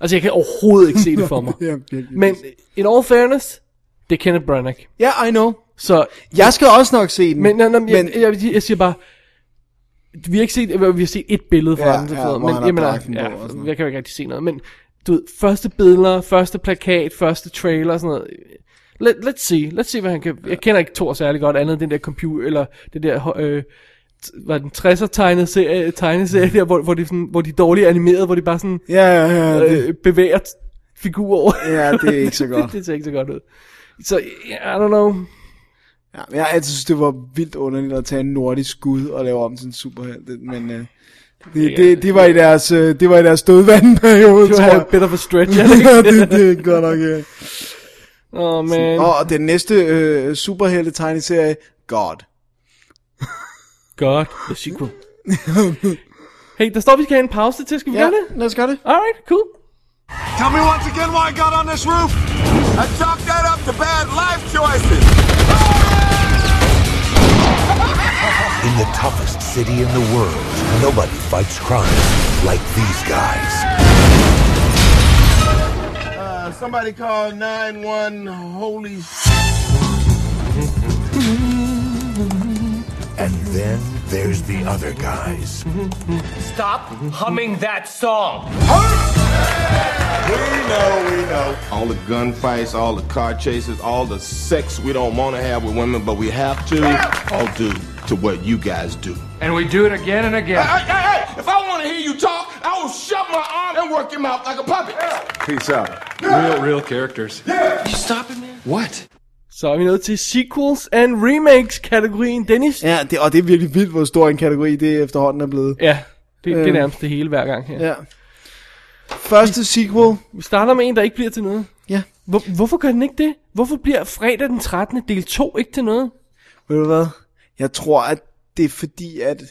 Speaker 6: Altså, jeg kan overhovedet ikke se det for mig.
Speaker 5: Ja, virkelig.
Speaker 6: Men in all fairness, det er Kenneth Branagh.
Speaker 5: Ja, yeah, I know.
Speaker 6: Så,
Speaker 5: Jeg skal også nok se den.
Speaker 6: men, nej, nej, men,
Speaker 5: men
Speaker 6: jeg, jeg, jeg, siger bare, vi har ikke set, vi har set et billede fra
Speaker 5: Ja,
Speaker 6: ham,
Speaker 5: ja,
Speaker 6: sådan noget,
Speaker 5: hvor han har dragten på
Speaker 6: ja,
Speaker 5: og sådan noget.
Speaker 6: jeg kan jo ikke rigtig se noget, men du ved, første billeder, første plakat, første trailer og sådan noget. øh, Let, let's see, let's see, hvad han kan, jeg kender ikke Thor særlig godt, andet end den der computer, eller den der, øh, t- var den 60'er tegnet serie, tegneserie der, hvor, hvor, de sådan, hvor de er dårligt animeret, hvor de bare sådan
Speaker 5: ja, ja, ja, det,
Speaker 6: øh, bevæger t- figurer over.
Speaker 5: ja, det er ikke så godt.
Speaker 6: det, det ser ikke så godt ud. Så, I don't know.
Speaker 5: Ja, men jeg har altid synes, det var vildt underligt at tage en nordisk gud og lave om til en superhelt, det- men øh, det, det, det, var i deres, øh, det var i deres dødvandperiode,
Speaker 6: Det
Speaker 5: tror
Speaker 6: var
Speaker 5: jeg.
Speaker 6: a bit of a stretch, er det ikke?
Speaker 5: ja, det, det er godt nok, ja.
Speaker 6: Åh, oh, man.
Speaker 5: Og den næste øh, superhelte tegneserie, God.
Speaker 6: God, the sequel. hey, der står, vi skal have en pause til. Skal vi ja.
Speaker 5: Ja,
Speaker 6: gøre det?
Speaker 5: lad os gøre det.
Speaker 6: Alright, cool.
Speaker 8: Tell me once again why I got on this roof. I chalked that up to bad life choices.
Speaker 9: In the toughest city in the world, nobody fights crime like these guys.
Speaker 8: Uh, somebody call 9-1 holy
Speaker 9: And then there's the other guys.
Speaker 10: Stop humming that song.
Speaker 8: We know, we know. All the gunfights, all the car chases, all the sex we don't want to have with women, but we have to, all due to what you guys do.
Speaker 10: And we do it again and again.
Speaker 8: Hey, hey, hey! If I want to hear you talk, I will shove my arm and work your mouth like a puppet. Peace out.
Speaker 10: Real, real characters.
Speaker 6: Så er vi nået til sequels and remakes-kategorien. Dennis?
Speaker 5: Ja, det, og det er virkelig vildt, hvor stor en kategori det efterhånden er blevet.
Speaker 6: ja det, det er
Speaker 5: Øhm.
Speaker 6: nærmest det hele hver gang her.
Speaker 5: Ja. Første sequel.
Speaker 6: Vi starter med en, der ikke bliver til noget.
Speaker 5: Ja.
Speaker 6: Hvor, hvorfor gør den ikke det? Hvorfor bliver fredag den 13. del 2 ikke til noget?
Speaker 5: Ved du hvad? Jeg tror, at det er fordi, at...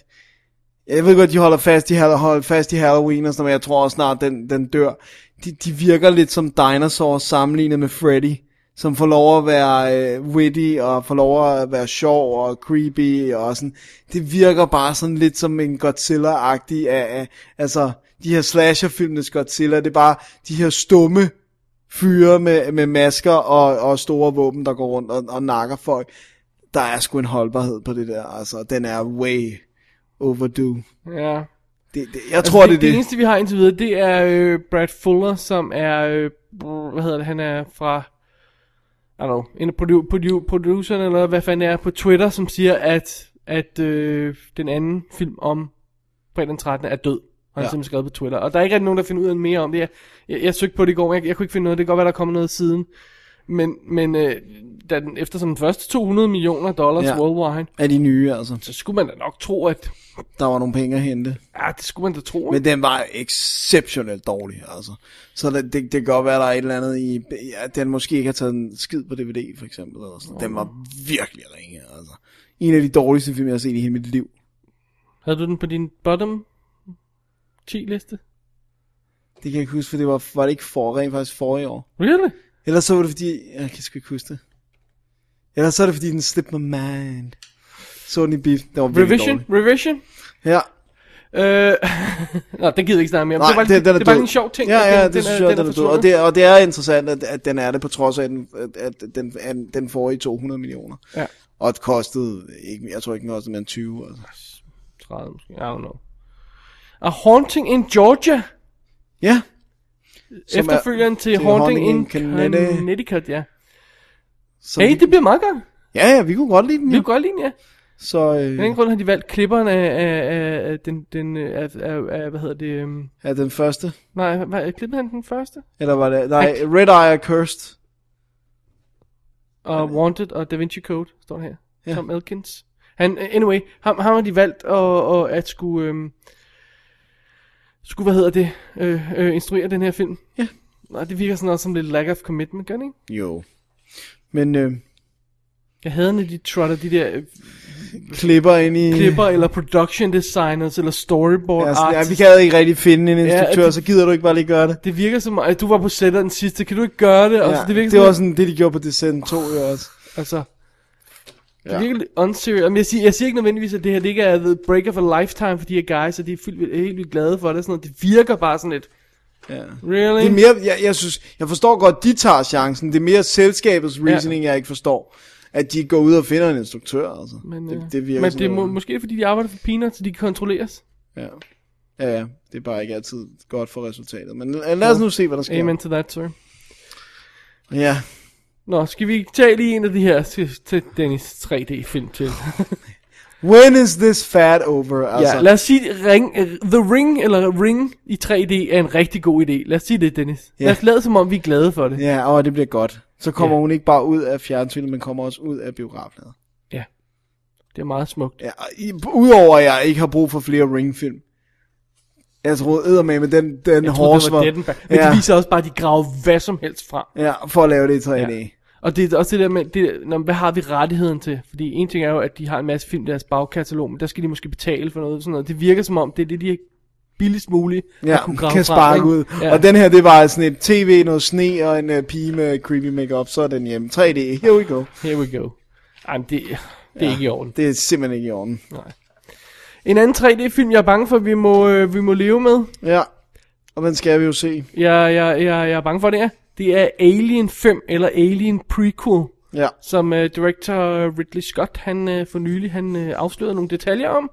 Speaker 5: Jeg ved godt, de holder fast i, Hall- holder fast i Halloween og sådan noget, men jeg tror også snart, den, den dør. De, de virker lidt som dinosaurs sammenlignet med Freddy, som får lov at være øh, witty, og får lov at være sjov og creepy, og sådan. Det virker bare sådan lidt som en Godzilla-agtig af, af, altså, de her slasher-filmenes Godzilla, det er bare de her stumme fyre med, med masker og, og store våben, der går rundt og, og nakker folk der er sgu en holdbarhed på det der, altså, den er way overdue.
Speaker 6: Ja.
Speaker 5: Det, det, jeg tror, det,
Speaker 6: Altså, det,
Speaker 5: det er det.
Speaker 6: eneste, vi har indtil videre, det er øh, Brad Fuller, som er, øh, brr, hvad hedder det, han er fra, I don't know, en af produ- produ- producerne, eller hvad fanden er, på Twitter, som siger, at, at øh, den anden film om fredag den 13. er død.
Speaker 5: Ja.
Speaker 6: Har han ja. simpelthen skrevet på Twitter. Og der er ikke rigtig nogen, der finder ud af mere om det. Jeg, jeg, jeg søgte på det i går, men jeg, jeg kunne ikke finde noget. Det kan godt være, der kommer noget siden. Men, men øh, da den, eftersom den første 200 millioner dollars
Speaker 5: Ja.
Speaker 6: ja. worldwide,
Speaker 5: Af de nye, altså.
Speaker 6: så skulle man da nok tro, at...
Speaker 5: Der var nogle penge at hente.
Speaker 6: Ja, det skulle man da tro. ikke?
Speaker 5: Men den var exceptionelt dårlig, altså. Så det, det, det kan godt være, der er et eller andet i... Ja, den måske ikke har taget en skid på DVD, for eksempel. Eller sådan. Den var virkelig ringe, altså. En af de dårligste film, jeg har set i hele mit liv.
Speaker 6: Havde du den på din bottom 10 liste?
Speaker 5: Det kan jeg ikke huske, for det var, var det ikke for, rent faktisk forrige år.
Speaker 6: Really?
Speaker 5: Ellers så var det fordi... Jeg kan sgu ikke huske det. Ellers så er det fordi, den slipped my mind. Så den i beef. Den var virkelig
Speaker 6: Revision?
Speaker 5: dårlig.
Speaker 6: Revision?
Speaker 5: Ja.
Speaker 6: Øh, Nå, det gider vi ikke snakke mere om.
Speaker 5: Nej,
Speaker 6: det var,
Speaker 5: det, den er
Speaker 6: det var
Speaker 5: død.
Speaker 6: en sjov ting.
Speaker 5: Ja,
Speaker 6: at
Speaker 5: ja,
Speaker 6: den,
Speaker 5: det synes jeg, den er, død. Og
Speaker 6: forsvundet.
Speaker 5: det, og det er interessant, at, at den er det, på trods af, at den, at, at den, at den forrige 200 millioner.
Speaker 6: Ja.
Speaker 5: Og det kostede, ikke, jeg tror ikke, den kostede mere end 20. Altså.
Speaker 6: 30 måske. I don't know. A Haunting in Georgia.
Speaker 5: Ja, Som er-
Speaker 6: Efterfølgeren til, til Haunting, in Connecticut. Connecticut ja.
Speaker 5: så
Speaker 6: Hey,
Speaker 5: vi,
Speaker 6: det bliver meget godt.
Speaker 5: ja, ja, vi kunne godt lide den.
Speaker 6: Det er
Speaker 5: Ja.
Speaker 6: godt lige, ja.
Speaker 5: Så øh,
Speaker 6: Af den grund har de valgt klipperen af, af, af, af den, den øh, af, af, af, hvad hedder det, øhm,
Speaker 5: er den første,
Speaker 6: nej, hvad, klippede han den første?
Speaker 5: eller var det, nej, Red Eye er cursed.
Speaker 6: Og Wanted og Da Vinci Code, står der her.
Speaker 5: Ja.
Speaker 6: Tom Elkins. Han, anyway, ham, ham har de valgt at, at, at skulle, øhm, skulle, hvad hedder det, øh, øh, instruere den her film.
Speaker 5: Ja.
Speaker 6: Nej, det virker sådan også som lidt lack of commitment, gør det ikke?
Speaker 5: Jo. Men øh,
Speaker 6: Jeg hader, når de trotter de der øh,
Speaker 5: klipper ind i...
Speaker 6: klipper, eller production designers, eller storyboard
Speaker 5: altså, Ja,
Speaker 6: ja,
Speaker 5: sådan, ja, vi
Speaker 6: artists.
Speaker 5: kan ikke rigtig finde en instruktør, ja,
Speaker 6: det-
Speaker 5: så gider du ikke bare lige gøre det.
Speaker 6: Det virker som, at du var på sætter den sidste, kan du ikke gøre det?
Speaker 5: Ja,
Speaker 6: Altså, det virker
Speaker 5: det
Speaker 6: som,
Speaker 5: var sådan det, de gjorde på Descent 2 jo også.
Speaker 6: altså, det
Speaker 5: Ja.
Speaker 6: virker lidt unserious. Men jeg siger, jeg siger ikke nødvendigvis, at det her det ikke er the break of a lifetime for de her guys, og de er fyldt, helt vildt glade for det. Sådan noget. Det virker bare sådan lidt,
Speaker 5: Ja.
Speaker 6: really?
Speaker 5: Det er mere, jeg, jeg, synes, jeg forstår godt, de tager chancen. Det er mere selskabets reasoning, ja. jeg ikke forstår. At de går ud og finder en instruktør, altså.
Speaker 6: men, øh,
Speaker 5: det, det virker
Speaker 6: men
Speaker 5: sådan
Speaker 6: det er må,
Speaker 5: noget.
Speaker 6: måske fordi, de arbejder for peanuts, så de kan kontrolleres.
Speaker 5: Ja. ja, ja. Det er bare ikke altid godt for resultatet. Men øh, lad os nu se, hvad der sker.
Speaker 6: Amen to that, sir.
Speaker 5: Ja.
Speaker 6: Nå, skal vi tage lige en af de her til, til Dennis 3D-film til?
Speaker 5: When is this fad over? Altså,
Speaker 6: ja, lad os sige, ring, øh, The Ring eller Ring i 3D er en rigtig god idé. Lad os sige det, Dennis.
Speaker 5: Ja.
Speaker 6: Lad os lade som om, vi er glade for det.
Speaker 5: ja og det bliver godt. Så kommer
Speaker 6: Ja.
Speaker 5: hun ikke bare ud af fjernsynet, men kommer også ud af biografen.
Speaker 6: Det er meget smukt.
Speaker 5: Ja, og i- udover at jeg ikke har brug for flere Ring-film. Jeg troede med, men den, den
Speaker 6: Jeg troede,
Speaker 5: horse
Speaker 6: det var
Speaker 5: var...
Speaker 6: Dettenberg. Men ja. det viser også bare, at de graver hvad som helst frem.
Speaker 5: ja, for at lave det i 3D.
Speaker 6: Ja. Og det er også det der med, det, der, når, hvad har vi rettigheden til? Fordi en ting er jo, at de har en masse film i deres bagkatalog, men der skal de måske betale for noget. Sådan noget. Det virker som om, det er det, de er billigst muligt
Speaker 5: Ja,
Speaker 6: at kunne grave
Speaker 5: kan
Speaker 6: frem,
Speaker 5: sparke
Speaker 6: ikke?
Speaker 5: ud. Ja. Og den her, det var altså sådan et tv, noget sne og en uh, pige med creepy makeup, så er den hjemme. 3D, here we go.
Speaker 6: Here we go. Ej, men det, det er ikke i orden.
Speaker 5: Det er simpelthen ikke i orden.
Speaker 6: En anden 3D-film, jeg er bange for, at vi må, øh, vi må leve med.
Speaker 5: Ja, og den skal vi jo se.
Speaker 6: Jeg, jeg, jeg, jeg er bange for, det er. Det er Alien 5, eller Alien Prequel,
Speaker 5: Ja,
Speaker 6: som øh, director Ridley Scott, han øh, for nylig, han øh, afslørede nogle detaljer om.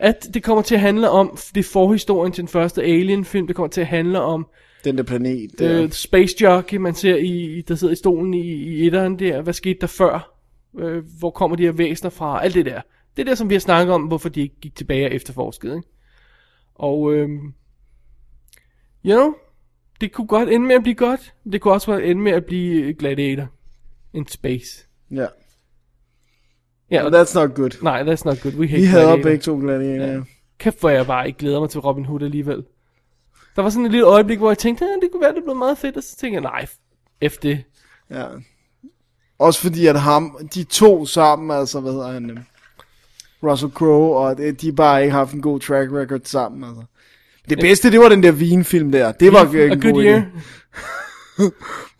Speaker 6: At det kommer til at handle om, f- det er forhistorien til den første Alien-film, det kommer til at handle om
Speaker 5: den der planet. Det
Speaker 6: øh,
Speaker 5: er,
Speaker 6: Space Jockey, man ser, i, i- der sidder i stolen i, i etteren der. Hvad skete der før? Øh, hvor kommer de her væsener fra? Alt det der. Det er der, som vi har snakket om, hvorfor de ikke gik tilbage og efterforskede. Ikke? Og, øh, you know, det kunne godt ende med at blive godt. men Det kunne også godt ende med at blive øh, Gladiator in space.
Speaker 5: ja.
Speaker 6: Ja,
Speaker 5: Og that's not good.
Speaker 6: nej, that's not good. We hate
Speaker 5: Vi
Speaker 6: Gladiator.
Speaker 5: havde begge to gladiatorer. Ja.
Speaker 6: Kæft, hvor jeg bare ikke glæder mig til Robin Hood alligevel. Der var sådan et lille øjeblik, hvor jeg tænkte, "Ah, det kunne være, det blev meget fedt. Og så tænkte jeg, nej, f det.
Speaker 5: ja. Også fordi, at ham, de to sammen, altså, hvad hedder han? øhm, Russell Crowe, og det, de bare ikke har haft en god track record sammen, altså. Det bedste, det var den der Wien-film der. Det var øh,
Speaker 6: A
Speaker 5: en god
Speaker 6: good
Speaker 5: idé.
Speaker 6: year.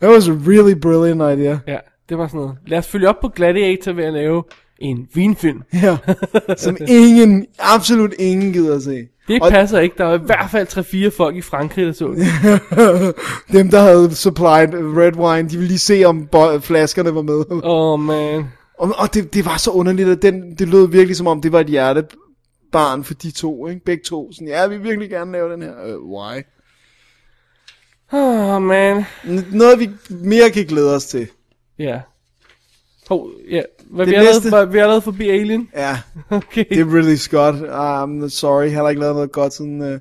Speaker 5: That was a really brilliant idea.
Speaker 6: Ja, det var sådan noget. Lad os følge op på Gladiator ved at lave en vinfilm.
Speaker 5: Ja, som ingen, absolut ingen gider at se.
Speaker 6: Det
Speaker 5: Og-
Speaker 6: passer ikke. Der er i hvert fald 3-4 folk i Frankrig, der så det.
Speaker 5: Dem, der havde supplied red wine, de ville lige se, om bo- flaskerne var med.
Speaker 6: Åh, oh, man.
Speaker 5: Og, og det, det var så underligt, at den, det lød virkelig som om, det var et hjertebarn for de to, ikke? Begge to. Sådan, ja, vi vil virkelig gerne lave den her. Uh, why?
Speaker 6: Åh, oh, man.
Speaker 5: N- noget, vi mere kan glæde os til.
Speaker 6: Ja. Hov, ja. Hvad,
Speaker 5: Det
Speaker 6: vi, har lavet,
Speaker 5: næste-
Speaker 6: hvad, vi har lavet forbi Alien.
Speaker 5: Ja,
Speaker 6: Okay.
Speaker 5: det er Ridley Scott. Um, sorry, han har ikke lavet noget godt sådan... Uh,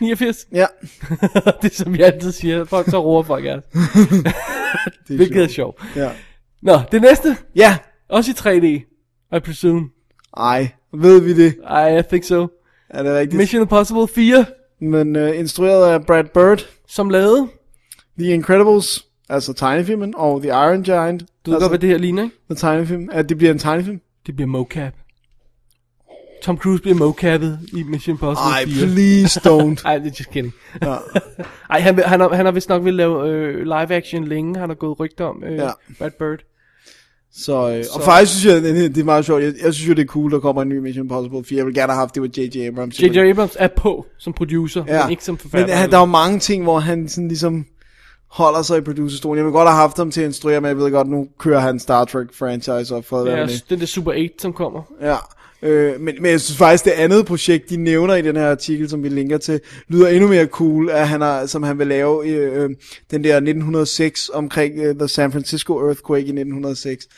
Speaker 6: 89.
Speaker 5: ja,
Speaker 6: det er som jeg altid siger. Folk så roer folk af.
Speaker 5: det er
Speaker 6: Hvilket er
Speaker 5: sjovt.
Speaker 6: sjovt.
Speaker 5: Ja.
Speaker 6: Nå, det næste.
Speaker 5: ja,
Speaker 6: Også i 3D. I presume.
Speaker 5: ej, ved vi det?
Speaker 6: I, I think so.
Speaker 5: Er det rigtigt?
Speaker 6: Mission Impossible 4,
Speaker 5: Men uh, instrueret af Brad Bird.
Speaker 6: som lavede.
Speaker 5: The Incredibles, altså tegnefilmen, og The Iron Giant,
Speaker 6: Du ved
Speaker 5: altså
Speaker 6: godt, hvad det her ligner, ikke?
Speaker 5: det... tegnefilm, at det bliver en tegnefilm.
Speaker 6: Det bliver mocap. Tom Cruise bliver mocappet i Mission Impossible
Speaker 5: Ej,
Speaker 6: 4.
Speaker 5: please don't.
Speaker 6: Ej, det er just kidding. Ej, han, vil- han, har, han har vist nok vil lave øh, live action længe, han har gået rygter om, øh,
Speaker 5: Ja.
Speaker 6: ja. Brad Bird.
Speaker 5: så, øh, og faktisk synes jeg, det, det er meget sjovt. Jeg, jeg synes jo, det er cool, der kommer en ny Mission Impossible 4. Jeg ville gerne have haft det med J.J. Abrams.
Speaker 6: J.J. Abrams er på som producer, ja. men ikke som forfatter.
Speaker 5: Men han, der er jo mange ting, hvor han sådan ligesom holder sig i producerstolen. Jeg ville godt have haft ham til at instruere, men jeg ved godt, nu kører han Star Trek franchise og fred være
Speaker 6: ja,
Speaker 5: med det.
Speaker 6: den der Super 8, som kommer.
Speaker 5: Ja, øh, men, men jeg synes faktisk, det andet projekt, de nævner i den her artikel, som vi linker til, lyder endnu mere cool, at han har, som han vil lave øh, øh, den der 1906 omkring øh, The San Francisco Earthquake i 1906.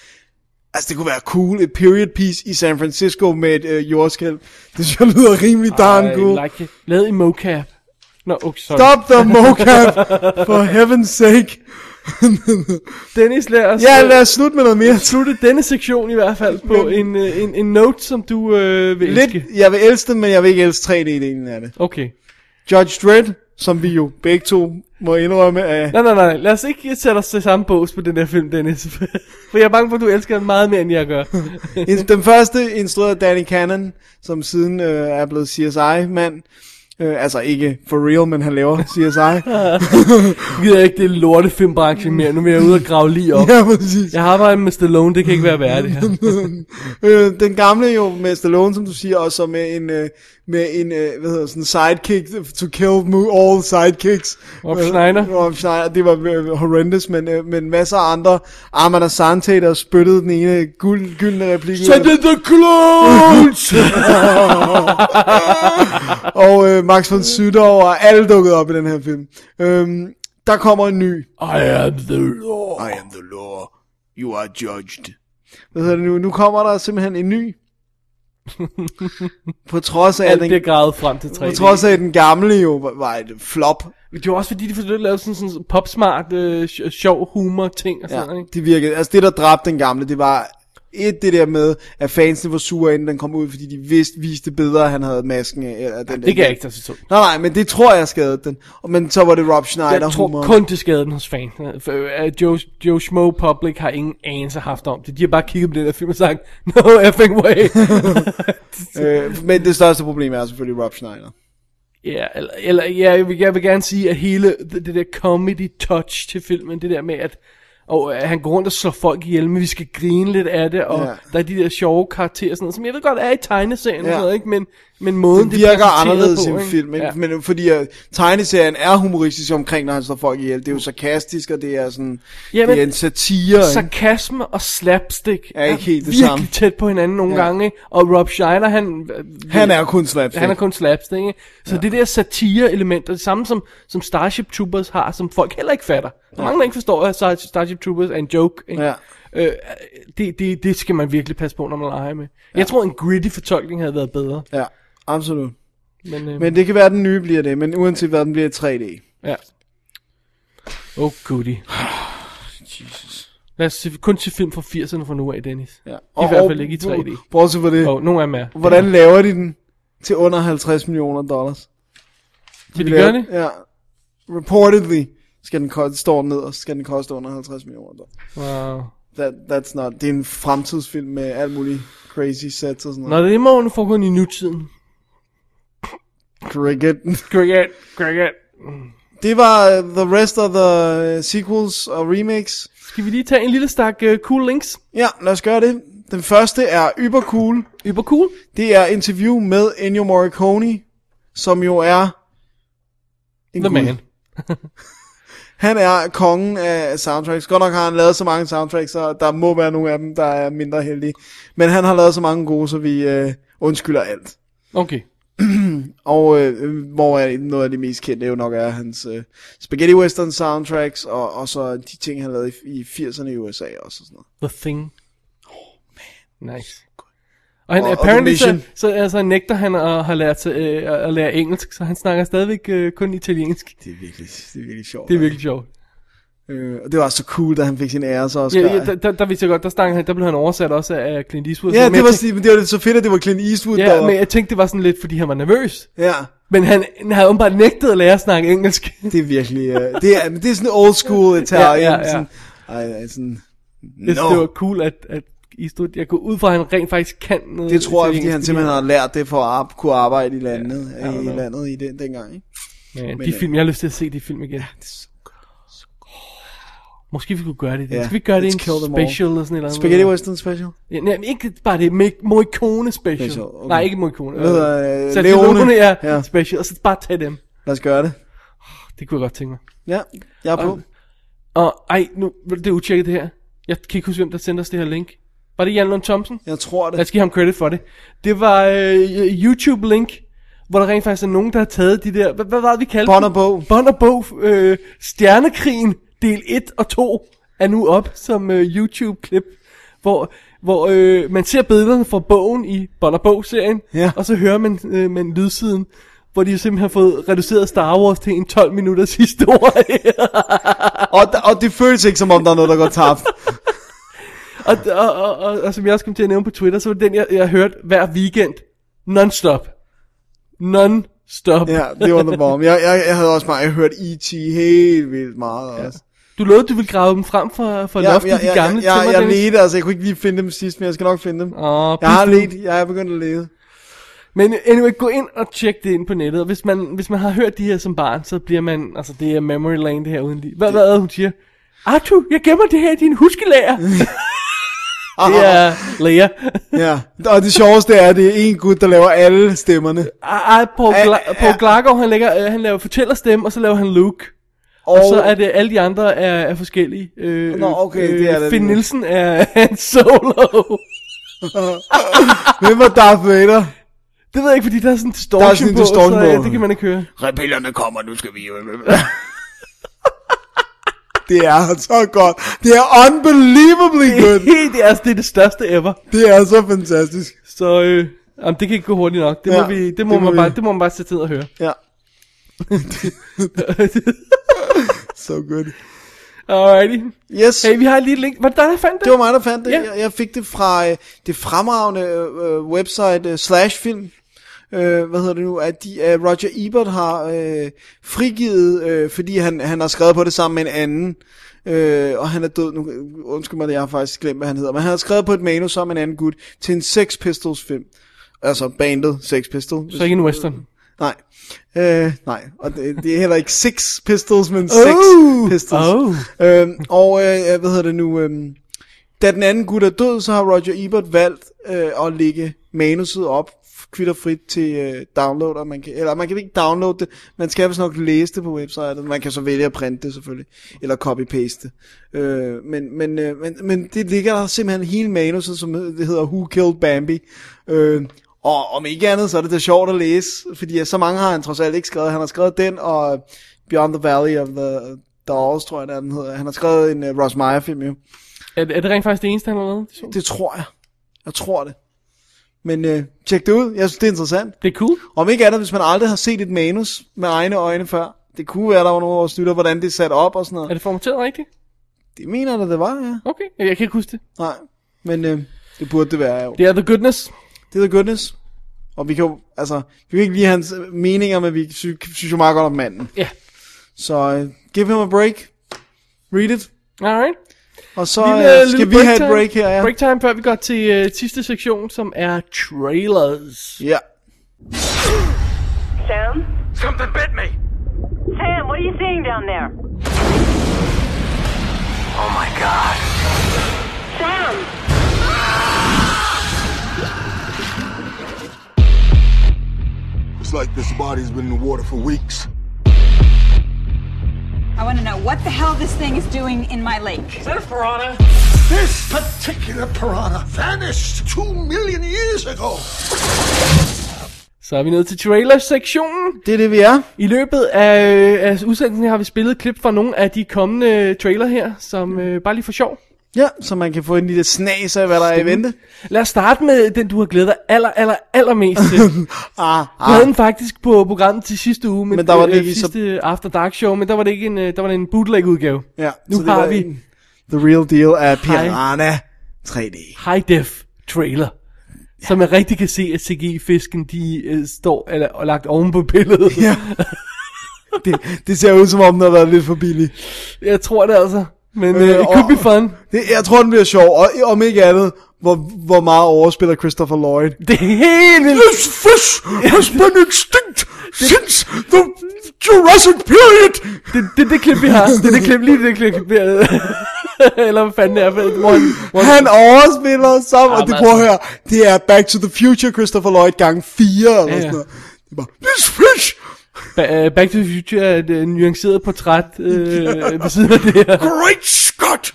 Speaker 5: Altså, det kunne være cool, et period piece i San Francisco med et øh, jordskælv. Det synes jeg lyder rimelig darn cool.
Speaker 6: Ej, like it. Lavet i mocap. Nå, okay, sorry.
Speaker 5: Stop the mocap, for heaven's sake.
Speaker 6: Dennis, lad os,
Speaker 5: Ja, lad os slutte med noget mere.
Speaker 6: slutte denne sektion i hvert fald på en, øh, en, en note, som du øh, vil elske.
Speaker 5: Lidt, jeg vil elske den, men jeg vil ikke elske 3D-delen af det.
Speaker 6: Okay.
Speaker 5: Judge Dredd, som vi jo begge to må indrømme af...
Speaker 6: Nej, nej, nej. Lad os ikke sætte os til samme bås på den der film, Dennis. for jeg er bange for, at du elsker den meget mere, end jeg gør.
Speaker 5: In- Den første instrueret af Danny Cannon, som siden øh, er blevet CSI-mand. Øh, altså ikke for real, men han laver CSI.
Speaker 6: Jeg gider ikke det lorte filmbranchen mere. Nu vil jeg ud og grave lige op.
Speaker 5: ja, præcis.
Speaker 6: Jeg har arbejdet med Stallone, det kan ikke være værd det her.
Speaker 5: øh, den gamle jo med Stallone, som du siger, og så med en, øh, med en øh, hvad hedder sådan sidekick, to kill mo- all sidekicks.
Speaker 6: Rob Schneider.
Speaker 5: Øh, Rob Schneider, det var øh, horrendous, men, øh, men masser af andre. Armand Asante, der spyttede den ene guld, gyldne replik. ud af-
Speaker 6: the clones!
Speaker 5: og øh, Max von Sydow og alle dukkede op i den her film. Øhm, der kommer en ny.
Speaker 6: I am the law.
Speaker 5: I am the law. You are judged. Hvad hedder det nu? Nu kommer der simpelthen en ny. på trods af,
Speaker 6: Alt
Speaker 5: den,
Speaker 6: bliver gravet frem til 3D.
Speaker 5: på trods af at den gamle jo var, var et flop.
Speaker 6: Det var også fordi, de forsøgte at lave sådan sådan popsmart, øh, sj- sjov humor ting og
Speaker 5: Ja,
Speaker 6: sådan ja. ikke?
Speaker 5: det virkede. Altså det, der dræbte den gamle, det var et det der med, at fansene var sure, inden den kom ud, fordi de vidste, viste bedre, at han havde masken af. Eller den,
Speaker 6: Det kan jeg ikke tage så tungt.
Speaker 5: Nej, nej, men det tror jeg skadede den. Og- Men så var det Rob Schneider
Speaker 6: Jeg tror
Speaker 5: humor.
Speaker 6: kun det skadede den hos fan. For, øh, Joe, Joe Schmo Public har ingen anelse haft om det. De har bare kigget på den der film og sagt, no effing way.
Speaker 5: Øh, men det største problem er selvfølgelig Rob Schneider.
Speaker 6: ja, eller, eller ja, jeg, vil, jeg vil gerne sige, at hele det, det der comedy touch til filmen, det der med, at og øh, han går rundt og slår folk ihjel, men vi skal grine lidt af det, og
Speaker 5: Ja.
Speaker 6: ja. der er de der sjove karakterer, og sådan noget, som jeg ved godt er i tegneserien, ja.
Speaker 5: Ja.
Speaker 6: og sådan noget, ikke? Men, men måden
Speaker 5: Den virker
Speaker 6: præsenteret
Speaker 5: anderledes
Speaker 6: på,
Speaker 5: i en
Speaker 6: ikke?
Speaker 5: film, ikke? Ja. men fordi uh, tegneserien er humoristisk omkring, når han slår folk ihjel. Det er jo sarkastisk, og det er sådan,
Speaker 6: Ja,
Speaker 5: det er
Speaker 6: men
Speaker 5: en satire. ikke?
Speaker 6: sarkasme og slapstick
Speaker 5: Er ikke helt det
Speaker 6: virkelig
Speaker 5: samme.
Speaker 6: tæt på hinanden nogle
Speaker 5: Ja.
Speaker 6: ja. gange, ikke? og Rob Schneider, han, øh,
Speaker 5: Han er kun slapstick.
Speaker 6: han er kun slapstick, ikke? så ja. det der satire-element, det samme som, som Starship Troopers har, som folk heller ikke fatter. Der er mange, der ikke forstår, at Star- Starship Troopers er en joke. Ikke?
Speaker 5: Ja.
Speaker 6: Øh, det, det, det skal man virkelig passe på, når man leger med. Jeg tror, en gritty fortolkning havde været bedre.
Speaker 5: Ja, absolut.
Speaker 6: Men, øh,
Speaker 5: Men det kan være, at den nye bliver det, men uanset hvad, den bliver 3D.
Speaker 6: Ja. Oh, goody. Jesus. Lad os se, kun se film fra 80'erne fra nu af, Dennis.
Speaker 5: Ja.
Speaker 6: I hvert fald ikke i 3D.
Speaker 5: Bortset for det,
Speaker 6: Og nogle af dem er.
Speaker 5: hvordan laver de den til under 50 millioner dollars?
Speaker 6: Vil de gøre det?
Speaker 5: Ja. Reportedly skal den koste, står den nederst, skal den koste under 50 millioner dollars.
Speaker 6: Wow.
Speaker 5: That, that's not, det er en fremtidsfilm med alt muligt crazy sets og sådan noget.
Speaker 6: Nå, det må jo foregå i nutiden.
Speaker 5: Cricket.
Speaker 6: Cricket, cricket.
Speaker 5: Det var øh, the rest of the øh, sequels og remakes.
Speaker 6: Skal vi lige tage en lille stak uh, cool links?
Speaker 5: Ja, lad os gøre det. Den første er Uber Cool.
Speaker 6: Yber cool.
Speaker 5: Det er interview med Ennio Morricone, som jo er... En
Speaker 6: The
Speaker 5: gud.
Speaker 6: man.
Speaker 5: Han er kongen af soundtracks. Godt nok har han lavet så mange soundtracks, så der må være nogle af dem, der er mindre heldige. Men han har lavet så mange gode, så vi øh, undskylder alt.
Speaker 6: Okay.
Speaker 5: Og øh, hvor er noget af det mest kendte jo nok er hans øh, spaghetti western soundtracks, og, og så de ting, han lavede i, i 80'erne i USA også. Og sådan noget.
Speaker 6: The Thing. Oh, man. Nice. Og han,
Speaker 5: Og-
Speaker 6: og,
Speaker 5: og The
Speaker 6: apparently,
Speaker 5: Mission.
Speaker 6: så, så altså, nægter han at have lært sig, øh, at lære engelsk, så han snakker stadigvæk øh, kun italiensk.
Speaker 5: Det er virkelig, det er virkelig sjovt.
Speaker 6: Det er virkelig sjovt.
Speaker 5: Øh, og det var også så cool, da han fik sin ære så også.
Speaker 6: Ja, ja, der, der, der vidste jeg godt, der, stank, han- der blev han oversat også af Clint Eastwood.
Speaker 5: ja
Speaker 6: Men jeg
Speaker 5: det, var,
Speaker 6: tænkte-
Speaker 5: sådan- men det var så fedt, at det var Clint Eastwood, der
Speaker 6: Ja,
Speaker 5: var,
Speaker 6: men jeg tænkte, det var sådan lidt, fordi han var nervøs.
Speaker 5: ja,
Speaker 6: Men han, han havde åbenbart nægtet at lære at snakke engelsk.
Speaker 5: det er virkelig, øh, det, er, men det er sådan old school Italian.
Speaker 6: Ja, ja, ja.
Speaker 5: Sådan, ej, ej, sådan,
Speaker 6: Jeg synes, det var
Speaker 5: no.
Speaker 6: cool, at, at Eastwood, jeg kunne ud fra, at han rent faktisk kan noget
Speaker 5: Det tror jeg, fordi
Speaker 6: italiensk,
Speaker 5: han simpelthen har lært det for at ar- kunne arbejde i landet, ja, i, i landet i den, dengang. Ikke?
Speaker 6: Men,
Speaker 5: Men,
Speaker 6: de
Speaker 5: øh,
Speaker 6: film, jeg har lyst til at se de film igen. Måske vi kunne gøre det.
Speaker 5: Ja,
Speaker 6: Yeah. Skal vi gøre det i en
Speaker 5: let's kill them all.
Speaker 6: special eller sådan et eller andet?
Speaker 5: Spaghetti Western Special.
Speaker 6: Ja, nej, men ikke bare det. Make Morricone special.
Speaker 5: Special, okay.
Speaker 6: Nej, ikke Morricone.
Speaker 5: Hvad hedder, øh,
Speaker 6: så
Speaker 5: Leone.
Speaker 6: Leone er
Speaker 5: Ja.
Speaker 6: ja. special, og så bare tage dem.
Speaker 5: Lad os gøre det.
Speaker 6: Det kunne jeg godt tænke mig.
Speaker 5: Ja, jeg er på.
Speaker 6: Og ej, nu, det er utjekket det her. Jeg kan ikke huske, hvem der sendte os det her link. Var det Jan Lund Thomsen?
Speaker 5: Jeg tror
Speaker 6: Lad os
Speaker 5: det.
Speaker 6: give ham credit for det. Det var øh, YouTube-link, hvor der rent faktisk er nogen, der har taget de der... Hvad, hvad var det, vi kaldte
Speaker 5: Bånd
Speaker 6: dem?
Speaker 5: og bog.
Speaker 6: Bånd og bog. Øh, Stjernekrigen del 1 og 2 er nu op som øh, YouTube-klip, hvor, hvor øh, man ser billederne fra bogen i Bånd og bog-serien,
Speaker 5: Ja.
Speaker 6: og så hører man, øh, man lydsiden. hvor de simpelthen har fået reduceret Star Wars til en 12 minutters historie.
Speaker 5: og, der, og det føles ikke som om, der er noget, der går tabt.
Speaker 6: og, og, og, og, og som jeg også kom til at nævne på Twitter, så var det den, jeg, jeg hørte hver weekend. Non-stop. Non-stop.
Speaker 5: Ja, det var the bomb. Jeg, jeg, jeg havde også meget, jeg hørt E.T. helt vildt meget også.
Speaker 6: Du lovede, du ville grave dem frem for, for ja, loftet, ja, ja, de gamle
Speaker 5: ja, ja,
Speaker 6: tømmer,
Speaker 5: jeg
Speaker 6: Dennis.
Speaker 5: ledte, altså jeg kunne ikke lige finde dem sidst, men jeg skal nok finde dem.
Speaker 6: Åh,
Speaker 5: jeg har
Speaker 6: pis nu.
Speaker 5: let, jeg er begyndt at lede.
Speaker 6: Men anyway, gå ind og tjek det ind på nettet. Og hvis man, hvis man har hørt de her som barn, så bliver man... Altså, det er memory lane, det her uden lige. Hvad, hvad er det, hun siger? Arthur, jeg gemmer det her i din huskelager. det er Lea.
Speaker 5: Ja, og det sjoveste er, at det er en gut, der laver alle stemmerne.
Speaker 6: Ej, ej, Paul,
Speaker 5: Ej,
Speaker 6: Gla- Paul Glargaard, han, lægger, øh, han laver fortællerstemme, og så laver han Luke. Og, og
Speaker 5: Og-
Speaker 6: så er det alle de andre er, er forskellige. Øh,
Speaker 5: Nå, okay, det er det.
Speaker 6: Finn Nielsen er en solo.
Speaker 5: Hvem var Darth Vader?
Speaker 6: Det ved jeg ikke, fordi der er sådan en distortion,
Speaker 5: Der er sådan en
Speaker 6: på,
Speaker 5: distortion
Speaker 6: så ja,
Speaker 5: på.
Speaker 6: det kan man ikke høre.
Speaker 5: Repellerne kommer, nu skal vi... det er så godt. Det er unbelievably good.
Speaker 6: det, er, altså, det er det største ever.
Speaker 5: Det er så fantastisk.
Speaker 6: Så øh, jamen, det kan ikke gå hurtigt nok. Det, ja,
Speaker 5: Ja,
Speaker 6: må, vi, det, må,
Speaker 5: det må
Speaker 6: man
Speaker 5: vi.
Speaker 6: Bare, det må man bare sætte tid og høre.
Speaker 5: Ja. so good.
Speaker 6: Alrighty.
Speaker 5: Yes.
Speaker 6: Hey, vi har lige et link. Var det dig, der fandt det?
Speaker 5: Det var mig, der fandt det.
Speaker 6: Ja.
Speaker 5: Ja. Jeg, jeg fik det fra øh, det fremragende øh, website øh, Slash Film. Øh, hvad hedder det nu? At de, øh, Roger Ebert har øh, frigivet, øh, fordi han, han har skrevet på det sammen med en anden. Øh, og han er død nu. øh, Undskyld mig, jeg har faktisk glemt, hvad han hedder. Men han har skrevet på et manus sammen med en anden gut til en Sex Pistols film. Altså bandet Sex Pistols.
Speaker 6: Så ikke en western.
Speaker 5: Nej. Øh, nej, og det, det er heller ikke Six Pistols, men Sex
Speaker 6: Oh.
Speaker 5: Pistols.
Speaker 6: Oh.
Speaker 5: Øhm, og øh, hvad hedder det nu? Øhm, da den anden gut er død, så har Roger Ebert valgt øh, at lægge manuset op kvitterfrit til øh, download, og man kan, eller man kan ikke downloade det, man skal vist nok læse det på websitet, man kan så vælge at printe det selvfølgelig, eller copy-paste det. Øh, men, men, øh, men, men det ligger der simpelthen hele manuset, som hed- det hedder Who Killed Bambi, øh, og om ikke andet, så er det da sjovt at læse, fordi øh, så mange har han trods alt ikke skrevet, han har skrevet den, og øh, Beyond the Valley of the Dolls, tror jeg, der den hedder. Han har skrevet en uh, Ross Meyer-film, jo.
Speaker 6: Er, det- er det rent faktisk det eneste, han har lavet? Det,
Speaker 5: Det tror jeg. Jeg tror det. Men øh, tjek det ud. Jeg synes, det er interessant.
Speaker 6: det er cool.
Speaker 5: Om ikke andet, hvis man aldrig har set et manus med egne øjne før. Det kunne være, der var nogle af vores lytter, hvordan det er sat op og sådan
Speaker 6: Er
Speaker 5: noget.
Speaker 6: det formateret rigtigt?
Speaker 5: Det mener jeg da, det var, ja.
Speaker 6: Okay, jeg kan ikke huske det.
Speaker 5: Nej, men øh, det burde det være, jo.
Speaker 6: Det er The Goodness.
Speaker 5: Det er the goodness. Og vi kan jo, altså, vi kan ikke lide hans øh, meninger, men vi sy- synes jo meget godt om manden.
Speaker 6: Ja.
Speaker 5: Så øh, give him a break. Read it.
Speaker 6: Alright.
Speaker 5: Og så
Speaker 6: Lille,
Speaker 5: øh,
Speaker 6: lille
Speaker 5: skal vi have et break her, ja.
Speaker 6: Break time, før vi går til uh, sidste sektion, som er trailers.
Speaker 5: Ja.
Speaker 11: Sam?
Speaker 10: Something bit me.
Speaker 11: Sam, what are you seeing down there?
Speaker 10: Oh my god.
Speaker 11: Sam!
Speaker 7: It's like this body's been in the water for weeks.
Speaker 12: I want to know what the hell this thing is doing in my lake.
Speaker 10: Is that a piranha?
Speaker 7: This particular piranha vanished two million years ago.
Speaker 6: Så er vi nået til trailers-sektionen.
Speaker 5: Det er det, vi er.
Speaker 6: I løbet af, øh, af udsendelsen her har vi spillet klip fra nogle af de kommende trailer her, som øh, bare lige for sjov.
Speaker 5: Ja, så man kan få en lille snas af, hvad der er i vente.
Speaker 6: Lad os starte med den, du har glædet dig aller, aller, allermest til.
Speaker 5: Ah,
Speaker 6: Vi havde
Speaker 5: ah.
Speaker 6: den faktisk på programmet til sidste uge, men,
Speaker 5: Men der var det
Speaker 6: øh,
Speaker 5: ikke så-
Speaker 6: sidste After Dark Show, men der var det ikke en, øh, der var det en bootleg-udgave.
Speaker 5: Ja,
Speaker 6: Nu
Speaker 5: så det
Speaker 6: har
Speaker 5: var
Speaker 6: vi-
Speaker 5: en- The Real Deal af Piranha 3D.
Speaker 6: High Def trailer. Ja. Så man rigtig kan se, at CGI-fisken, de øh, står eller, og lagt oven på billedet.
Speaker 5: Ja. det, det ser ud som om, den har været lidt for billig.
Speaker 6: Jeg tror det altså. Men øh,
Speaker 5: Øh,
Speaker 6: it could
Speaker 5: og-
Speaker 6: be fun.
Speaker 5: Det, jeg tror, den bliver sjov, og om ikke andet, hvor, hvor meget overspiller Christopher Lloyd.
Speaker 6: Det er helt vildt.
Speaker 5: This fish has been extinct since the Jurassic period.
Speaker 6: Det, det, det klip, vi har. Det, det klip, lige det klip. vi har. eller hvad fanden det er. for- Hvor, hvor,
Speaker 5: Han overspiller sammen, og det
Speaker 6: Jamen,
Speaker 5: prøver at høre, det er Back to the Future Christopher Lloyd gang 4, eller
Speaker 6: Ja, ja.
Speaker 5: sådan noget. Det er bare, this fish
Speaker 6: Ba- øh, Back to the Future er et øh, nuanceret portræt øh, ved siden af det her.
Speaker 5: Great Scott!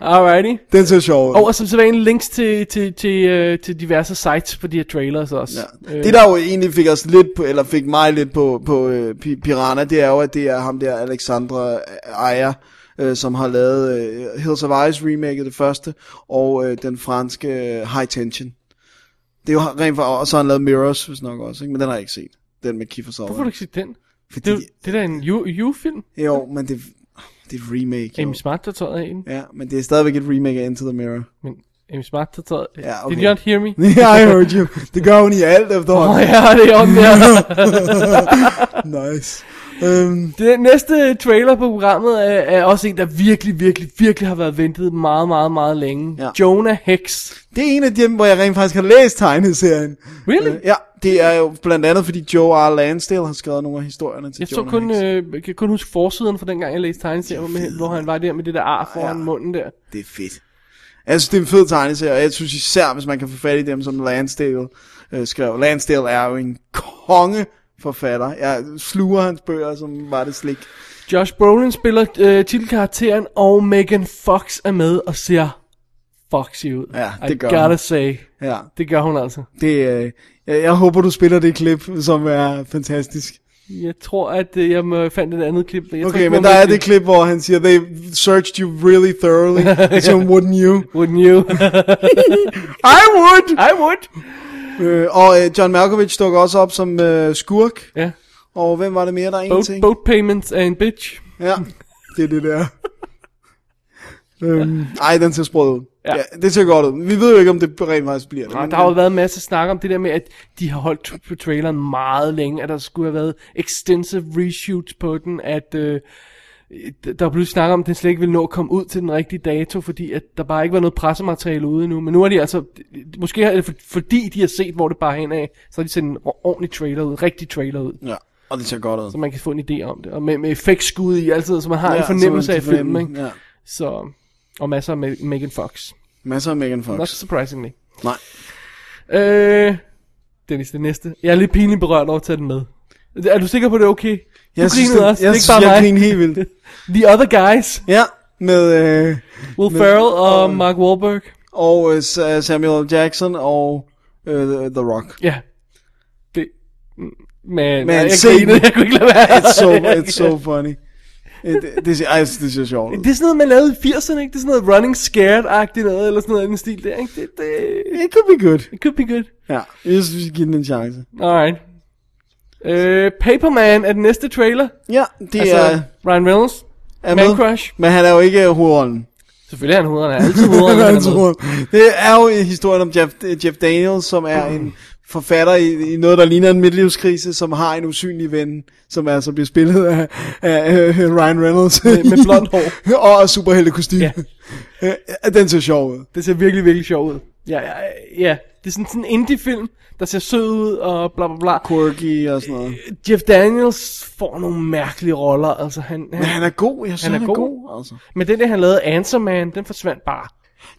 Speaker 6: Alrighty.
Speaker 5: Den ser sjov ud.
Speaker 6: Og som sædvanligt links til, til, til, øh, til diverse sites på de her trailers også. Øh,
Speaker 5: Ja. Det der jo egentlig fik os lidt på, eller fik mig lidt på, på øh, Pi- Piranha, det er jo, at det er ham der, Alexandra Aja, øh, som har lavet øh, Hills of Ice remake det første, og øh, den franske øh, High Tension. Det er jo rent for, og så har han lavet Mirrors, hvis nok også, ikke? men den har jeg ikke set. Den med Kiefer Sutherland.
Speaker 6: Hvorfor har du ikke set den? Fordi... Det, det der er en U-film.
Speaker 5: Jo, men det, det er et remake. jo.
Speaker 6: Amy Smart, der tager en.
Speaker 5: Ja, men det er stadigvæk et remake af Into the Mirror.
Speaker 6: Men Amy Smart, der tager...
Speaker 5: Ja,
Speaker 6: Did you not hear me?
Speaker 5: yeah, I heard you. Det gør hun i alt efterhånden.
Speaker 6: Åh, ja, det er om
Speaker 5: der. nice. Um,
Speaker 6: Den næste trailer på programmet er, er også en, der virkelig, virkelig, virkelig har været ventet meget, meget, meget længe. Ja. Jonah Hex.
Speaker 5: Det er en af dem, hvor jeg rent faktisk har læst tegneserien.
Speaker 6: Really?
Speaker 5: Øh, ja, det er jo blandt andet, fordi Joe R. Lansdale har skrevet nogle af historierne til
Speaker 6: Jeg så
Speaker 5: Jonah
Speaker 6: kun,
Speaker 5: Hex.
Speaker 6: øh, jeg kan kun huske forsiden fra dengang, jeg læste tegneserien, med, hvor han var der med det der ar foran ja. munden der.
Speaker 5: Det er fedt. Jeg synes, det er en fed tegneserie, og jeg synes især, hvis man kan få fat i dem, som Lansdale øh, skrev. Lansdale er jo en konge forfatter. Jeg sluger hans bøger, som var det slik.
Speaker 6: Josh Brolin spiller øh, titelkarakteren, og Megan Fox er med og ser foxy ud.
Speaker 5: Ja,
Speaker 6: I
Speaker 5: det gør
Speaker 6: gotta
Speaker 5: hun.
Speaker 6: say.
Speaker 5: Ja.
Speaker 6: Det gør hun altså.
Speaker 5: Det, øh, jeg, jeg håber, du spiller det klip, som er fantastisk.
Speaker 6: Jeg tror, at øh, jeg må- fandt et andet klip. Jeg tror
Speaker 5: Okay,
Speaker 6: ikke,
Speaker 5: men
Speaker 6: man
Speaker 5: der
Speaker 6: må-
Speaker 5: er det klip, hvor han siger, they searched you really thoroughly, so wouldn't you?
Speaker 6: Wouldn't you?
Speaker 5: I would!
Speaker 6: I would!
Speaker 5: Øh, og øh, John Malkovich dukker også op som øh, skurk.
Speaker 6: Ja.
Speaker 5: Og hvem var det mere, der er en
Speaker 6: Boat,
Speaker 5: ting?
Speaker 6: boat payments er en bitch.
Speaker 5: Ja, det er det der. øhm, ej, den ser sprød ud. Ja. ja. det ser godt ud. Vi ved jo ikke, om det rent faktisk bliver det.
Speaker 6: Nej,
Speaker 5: men-
Speaker 6: der har jo været en masse snak om det der med, at de har holdt t- på traileren meget længe, at der skulle have været extensive reshoots på den, at øh, d- der blev snak om, at den slet ikke ville nå at komme ud til den rigtige dato, fordi at der bare ikke var noget pressemateriale ude endnu. Men nu er de altså, måske er det for- fordi de har set, hvor det bare er henad, så har de sendt en or- ordentlig trailer ud, rigtig trailer ud.
Speaker 5: Ja, og det ser godt ud.
Speaker 6: Så man kan få en idé om det, og med, med effektskud i altid, så man har
Speaker 5: Ja,
Speaker 6: ja, en
Speaker 5: så man
Speaker 6: fornemmelse
Speaker 5: kan
Speaker 6: af filmen,
Speaker 5: fornemme,
Speaker 6: ikke?
Speaker 5: ja.
Speaker 6: Så, og masser af Ma- Megan Fox.
Speaker 5: Masser af Megan Fox.
Speaker 6: Not surprisingly.
Speaker 5: Nej.
Speaker 6: Øh, Dennis, det næste. Jeg er lidt pinligt berørt over at tage den med. Er du sikker på, at det er okay? Du
Speaker 5: Jeg synes,
Speaker 6: grinede
Speaker 5: det-
Speaker 6: også.
Speaker 5: jeg
Speaker 6: det er
Speaker 5: synes,
Speaker 6: ikke bare
Speaker 5: jeg
Speaker 6: mig.
Speaker 5: grinede helt vildt.
Speaker 6: The Other Guys.
Speaker 5: Ja, med... Øh,
Speaker 6: Will
Speaker 5: med-
Speaker 6: Ferrell og Mark Wahlberg.
Speaker 5: Og øh, Sa- Samuel Jackson og øh, The- The Rock.
Speaker 6: Ja. Det, men,
Speaker 5: Man,
Speaker 6: jeg,
Speaker 5: se
Speaker 6: grinede,
Speaker 5: den.
Speaker 6: jeg kunne ikke lade være.
Speaker 5: It's so, it's so funny. It, det, det, ser- ej, det ser sjovt ud.
Speaker 6: Det er sådan noget, man lavede i 80'erne, ikke? Det er sådan noget running scared-agtigt noget, eller sådan noget i den stil der, ikke? Det, det...
Speaker 5: It could be good.
Speaker 6: It could be good.
Speaker 5: Ja, jeg synes, vi skal give den en chance.
Speaker 6: Alright. Øh, Paperman er den næste trailer. Altså,
Speaker 5: Ja, det er-
Speaker 6: Ryan Reynolds.
Speaker 5: Er
Speaker 6: Man
Speaker 5: med,
Speaker 6: Crush.
Speaker 5: Men han er jo ikke øh, hovedrollen.
Speaker 6: Selvfølgelig er han hovederne. Han er altid hovederne.
Speaker 5: Han er
Speaker 6: han er
Speaker 5: altid
Speaker 6: med.
Speaker 5: hovedrollen. Det er jo historien om Jeff, øh, Jeff Daniels, som er en forfatter i, i noget, der ligner en midtlivskrise, som har en usynlig ven, som altså bliver spillet af, af øh, Ryan Reynolds.
Speaker 6: Med- med blondt hår.
Speaker 5: og superheltekostyme. Ja. Den ser sjov ud.
Speaker 6: Det ser virkelig, virkelig sjovt ud. Ja, ja, ja. Det er sådan, sådan en indie-film, der ser sød ud og bla bla bla.
Speaker 5: Quirky og sådan noget.
Speaker 6: Jeff Daniels får nogle mærkelige roller. Altså, han, han,
Speaker 5: Men han er god. Jeg synes, han er god,
Speaker 6: altså. Men den der, han lavede Answer Man, den forsvandt bare.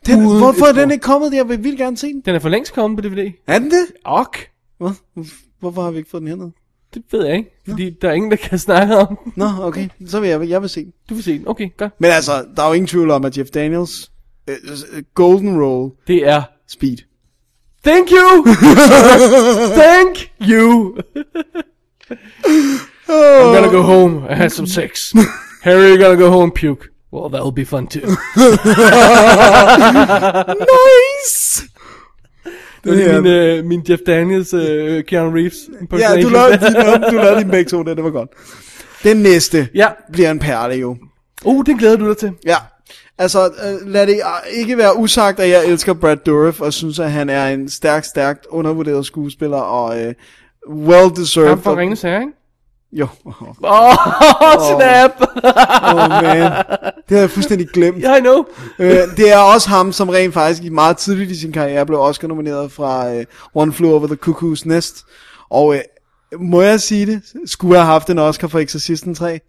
Speaker 5: Den,
Speaker 6: Uden
Speaker 5: hvorfor
Speaker 6: et
Speaker 5: er den
Speaker 6: ord.
Speaker 5: ikke kommet? Jeg vil vildt gerne se den.
Speaker 6: Den er for længst kommet på DVD.
Speaker 5: Er den det?
Speaker 6: Ok.
Speaker 5: Hvad? Hvorfor har vi ikke fået den hernede?
Speaker 6: Det ved jeg ikke, fordi der er ingen, der kan snakke om den.
Speaker 5: Nå, okay. Så vil jeg, jeg vil se den.
Speaker 6: Du vil se den, okay, godt.
Speaker 5: Men altså, der er jo ingen tvivl om, at Jeff Daniels øh, øh, golden role...
Speaker 6: Det er...
Speaker 5: Speed.
Speaker 6: Thank you! Thank you!
Speaker 5: Oh.
Speaker 6: I'm gonna go home. I had some sex. Harry, you're gonna go home, puke. Well, that'll be fun too.
Speaker 5: nice!
Speaker 6: Det
Speaker 5: Det er-
Speaker 6: er min, øh, min Jeff Daniels, øh, Keanu Reeves.
Speaker 5: Ja, du
Speaker 6: impersonation.
Speaker 5: lavede, din, du lavede din begge to, det, det var godt. Den næste
Speaker 6: ja.
Speaker 5: bliver en perle jo.
Speaker 6: Uh, det glæder du dig til.
Speaker 5: Ja. Altså, øh, lad det øh, ikke være usagt, at jeg elsker Brad Dourif, og synes, at han er en stærkt, stærkt undervurderet skuespiller, og øh, well deserved.
Speaker 6: Ham for Ringens Herre, ikke?
Speaker 5: Jo.
Speaker 6: Åh, oh, snap!
Speaker 5: Åh, oh, man. Det havde jeg fuldstændig glemt.
Speaker 6: Yeah, I know.
Speaker 5: øh, det er også ham, som rent faktisk i meget tidligt i sin karriere blev Oscar-nomineret fra øh, One Flew Over the Cuckoo's Nest. Og øh, må jeg sige det? Skulle jeg have haft en Oscar for Exorcisten 3?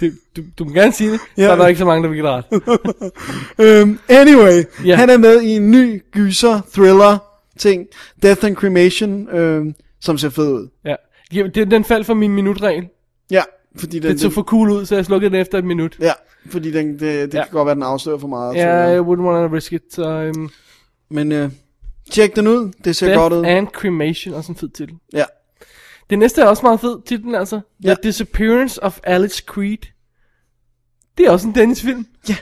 Speaker 6: det, du, du må gerne sige det.
Speaker 5: Ja.
Speaker 6: Ja. Der er der ikke så mange, der vil give dig ret.
Speaker 5: um, anyway,
Speaker 6: Ja.
Speaker 5: yeah. han er med i en ny gyser, thriller ting. Death and Cremation, øh, som ser fed ud.
Speaker 6: Ja. Jamen, det, den faldt for min minutregel.
Speaker 5: Ja, fordi den,
Speaker 6: Den så for cool ud, så jeg slukkede den efter et minut.
Speaker 5: Ja, fordi den, det, det
Speaker 6: Ja.
Speaker 5: kan godt være, den afslører for meget.
Speaker 6: Ja, yeah, I
Speaker 5: så,
Speaker 6: wouldn't want to risk it. Så, um,
Speaker 5: Men øh, tjek den ud, det ser
Speaker 6: Death
Speaker 5: godt ud.
Speaker 6: and Cremation, også en fed titel.
Speaker 5: Ja.
Speaker 6: Det næste er også meget fed titlen, altså. The Disappearance of Alice Creed. Det er også en Dennis-film.
Speaker 5: Ja.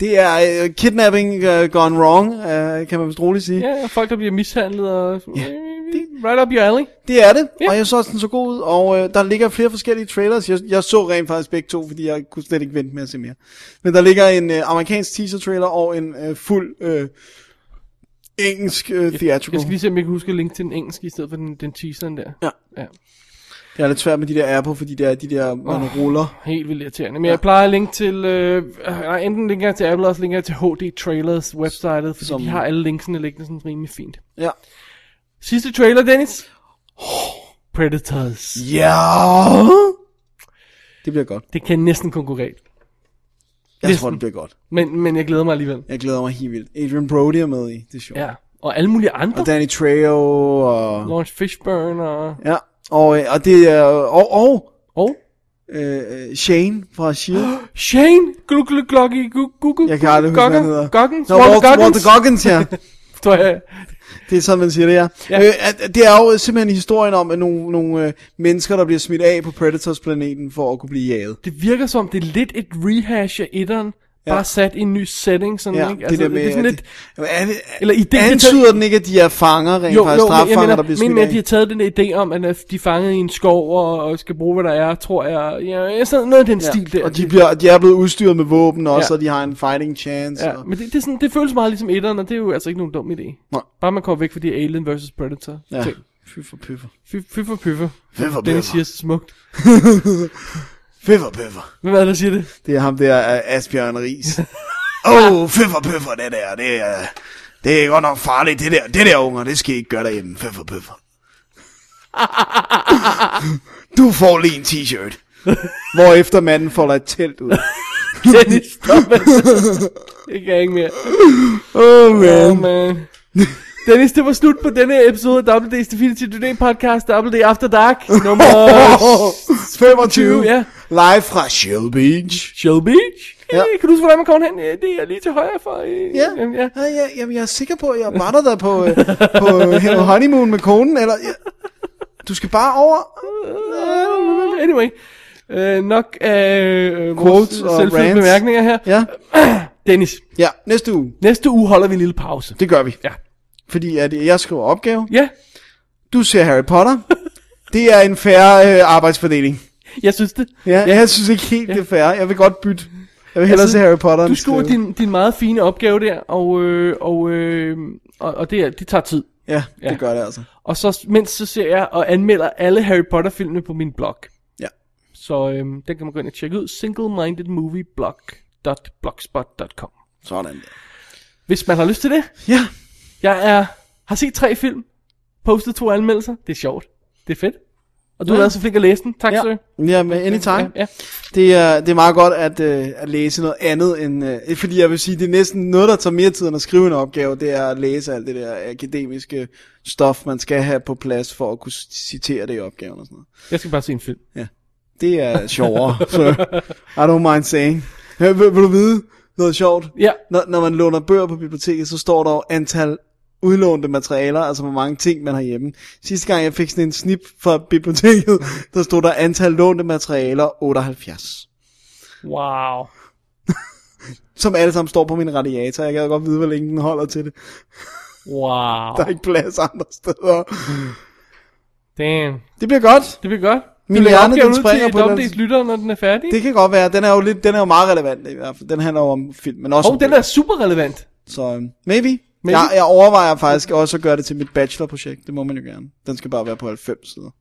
Speaker 5: Det er uh, kidnapping uh, gone wrong, uh, kan man vist roligt sige.
Speaker 6: Ja, og folk der bliver mishandlet og... Ja. Right up your alley.
Speaker 5: Det er det, yeah. og jeg så også den så god ud, og øh, der ligger flere forskellige trailers. Jeg, jeg så rent faktisk begge to, fordi jeg kunne slet ikke vente med at se mere. Men der ligger en øh, amerikansk teaser-trailer og en øh, fuld øh, engelsk øh, theatrical.
Speaker 6: Jeg skal lige se, om jeg kan huske at linke til den engelske i stedet for den, den teaseren der.
Speaker 5: Ja.
Speaker 6: Uh-huh. ja.
Speaker 5: Det er lidt svært med de der Apple, fordi det er de der, man
Speaker 6: Åh,
Speaker 5: ruller.
Speaker 6: Helt vildt irriterende. Men ja. jeg plejer at linke til, øh, nej, enten linker jeg til Apple, eller også linker jeg til HD Trailers websitet, fordi Som... de har alle linksene liggende sådan rimelig fint.
Speaker 5: Ja.
Speaker 6: Sidste trailer, Dennis. Predators.
Speaker 5: Ja! Det bliver godt.
Speaker 6: Det kan næsten konkurrere.
Speaker 5: Jeg
Speaker 6: Næsten.
Speaker 5: tror, det bliver godt.
Speaker 6: Men, men jeg glæder mig alligevel.
Speaker 5: Jeg glæder mig helt vildt. Adrian Brody er med i, det er sjovt.
Speaker 6: Ja, og alle mulige andre.
Speaker 5: Og Danny Trejo, og...
Speaker 6: Lawrence Fishburne og...
Speaker 5: Ja, og, øh, og det er... Og... Og?
Speaker 6: og?
Speaker 5: Øh, øh, Shane fra S.H.I.E.L.D.
Speaker 6: Shane! Glug, glug, gloggy, gug, gug, gug.
Speaker 5: Jeg kan aldrig huske, hvad han hedder.
Speaker 6: Goggins?
Speaker 5: Nå,
Speaker 6: Walter
Speaker 5: Walter,
Speaker 6: Goggins?
Speaker 5: Walter Goggins, ja.
Speaker 6: Tror jeg.
Speaker 5: Det er sådan, man siger det, ja.
Speaker 6: Ja.
Speaker 5: ja. Øh, at- at det er jo simpelthen historien om at nogle, nogle øh, mennesker, der bliver smidt af på Predators-planeten for at kunne blive jaget.
Speaker 6: Det virker som, det er lidt et rehash af etteren, ja.
Speaker 5: Ja.
Speaker 6: bare sat i en ny setting, sådan,
Speaker 5: Ja,
Speaker 6: Mm, ikke? Altså,
Speaker 5: det der med,
Speaker 6: det er sådan
Speaker 5: at
Speaker 6: lidt...
Speaker 5: de- er det,
Speaker 6: eller idé,
Speaker 5: Antyder den ikke, at de er fanger, rent faktisk straffanger, der bliver
Speaker 6: men
Speaker 5: smidt
Speaker 6: med,
Speaker 5: af?
Speaker 6: at de har taget den der idé om, at øh, de er fanget i en skov og, og skal bruge, hvad der er, tror jeg. Ja, sådan noget i den ja. stil der.
Speaker 5: Og de, bliver, de er blevet udstyret med våben også,
Speaker 6: Ja.
Speaker 5: ja. og de har en fighting chance.
Speaker 6: Ja,
Speaker 5: og,
Speaker 6: men det, det, er sådan, det føles meget ligesom etteren, og det er jo altså ikke nogen dum idé.
Speaker 5: Nej.
Speaker 6: Bare man kommer væk fra de Alien vs. Predator.
Speaker 5: ja.
Speaker 6: ting.
Speaker 5: Fy for pøffer.
Speaker 6: Fy, fy for pyffer.
Speaker 5: Fy for
Speaker 6: Den
Speaker 5: pyffer.
Speaker 6: siger så smukt.
Speaker 5: Pøffer, pøffer.
Speaker 6: Hvem er det, der siger det?
Speaker 5: Det er ham der, uh, Asbjørn Ries. Åh, oh, pøffer, pøffer, det der. Det er, det er godt nok farligt, det der. Det der, unger, det skal I ikke gøre derhjemme. Pøffer, pøffer. Du får lige en t-shirt. Hvorefter manden folder et telt ud.
Speaker 6: Dennis, stop med det. Det kan jeg ikke mere.
Speaker 5: Oh man.
Speaker 6: Oh, man. Dennis, det var slut på denne episode af WD's Definitive Today podcast, WD After Dark, nummer
Speaker 5: 25,
Speaker 6: ja.
Speaker 5: Live fra Shell Beach.
Speaker 6: Shell Beach.
Speaker 5: Ja.
Speaker 6: Hey, kan du huske, hvordan man kommer hen? Ja, Det er lige til højre for. øh,
Speaker 5: Ja.
Speaker 6: jamen, ja.
Speaker 5: Ja, ja, jamen, jeg er sikker på, at jeg var der, der på, øh, på øh, honeymoon med konen, eller... Ja. Du skal bare over...
Speaker 6: Øh, Anyway. Øh, nok af øh,
Speaker 5: Quotes
Speaker 6: vores
Speaker 5: og
Speaker 6: selvfødte
Speaker 5: rants.
Speaker 6: bemærkninger her.
Speaker 5: Ja.
Speaker 6: Dennis,
Speaker 5: Ja, næste uge.
Speaker 6: næste uge holder vi en lille pause.
Speaker 5: Det gør vi.
Speaker 6: Ja.
Speaker 5: Fordi at jeg skriver opgave.
Speaker 6: Ja,
Speaker 5: Du ser Harry Potter. Det er en færre øh, arbejdsfordeling.
Speaker 6: jeg synes det.
Speaker 5: Ja, ja, jeg synes ikke helt, det er fair. Jeg vil godt bytte. Jeg vil hellere
Speaker 6: Altså,
Speaker 5: se Harry Potter
Speaker 6: Du
Speaker 5: end
Speaker 6: skriver
Speaker 5: skrive.
Speaker 6: din, din meget fine opgave der, og, øh, og, øh, og, og det, er, det tager tid.
Speaker 5: Ja,
Speaker 6: Ja.
Speaker 5: det gør det altså.
Speaker 6: Og så, mens så ser jeg og anmelder alle Harry Potter filmene på min blog.
Speaker 5: Ja.
Speaker 6: Så øh, den kan man gå ind og tjekke ud. singlemindedmovieblog.blogspot.com
Speaker 5: Sådan der.
Speaker 6: Hvis man har lyst til det.
Speaker 5: Ja,
Speaker 6: Jeg er, har set tre film, postet to anmeldelser. Det er sjovt. Det er fedt. Og du
Speaker 5: Ja.
Speaker 6: har været så flink at læse den. Tak,
Speaker 5: ja.
Speaker 6: sir.
Speaker 5: ja med anytime.
Speaker 6: Ja, ja.
Speaker 5: Det er, det er meget godt at, øh, at læse noget andet end... Øh, fordi jeg vil sige, det er næsten noget, der tager mere tid end at skrive en opgave. Det er at læse alt det der akademiske stof, man skal have på plads for at kunne citere det i opgaven og sådan noget.
Speaker 6: Jeg skal bare se en film.
Speaker 5: Det er sjovere, så I don't mind saying. Ja, vil, vil du vide noget sjovt?
Speaker 6: Ja.
Speaker 5: Når, når man låner bøger på biblioteket, så står der jo antal udlånte materialer, altså hvor mange ting man har hjemme. Sidste gang jeg fik sådan en snip fra biblioteket, der stod der antal lånte materialer 78.
Speaker 6: Wow.
Speaker 5: Som alle sammen står på min radiator. Jeg kan godt vide, hvor længe den holder til det.
Speaker 6: Wow.
Speaker 5: Der er ikke plads andre steder.
Speaker 6: Damn.
Speaker 5: Det bliver godt.
Speaker 6: Det bliver godt.
Speaker 5: Min
Speaker 6: det bliver
Speaker 5: hjerne,
Speaker 6: opgaven
Speaker 5: den
Speaker 6: ud
Speaker 5: springer
Speaker 6: til
Speaker 5: på et eller andet
Speaker 6: Domdays lytter, når den er færdig.
Speaker 5: Det kan godt være. Den er jo lidt, den er jo meget relevant i hvert fald. Den handler jo om film, men også
Speaker 6: Og
Speaker 5: om
Speaker 6: den er super relevant.
Speaker 5: Så øhm, maybe.
Speaker 6: Maybe.
Speaker 5: maybe. Jeg, jeg overvejer faktisk også at gøre det til mit bachelorprojekt. Det må man jo gerne. Den skal bare være på 90 sider.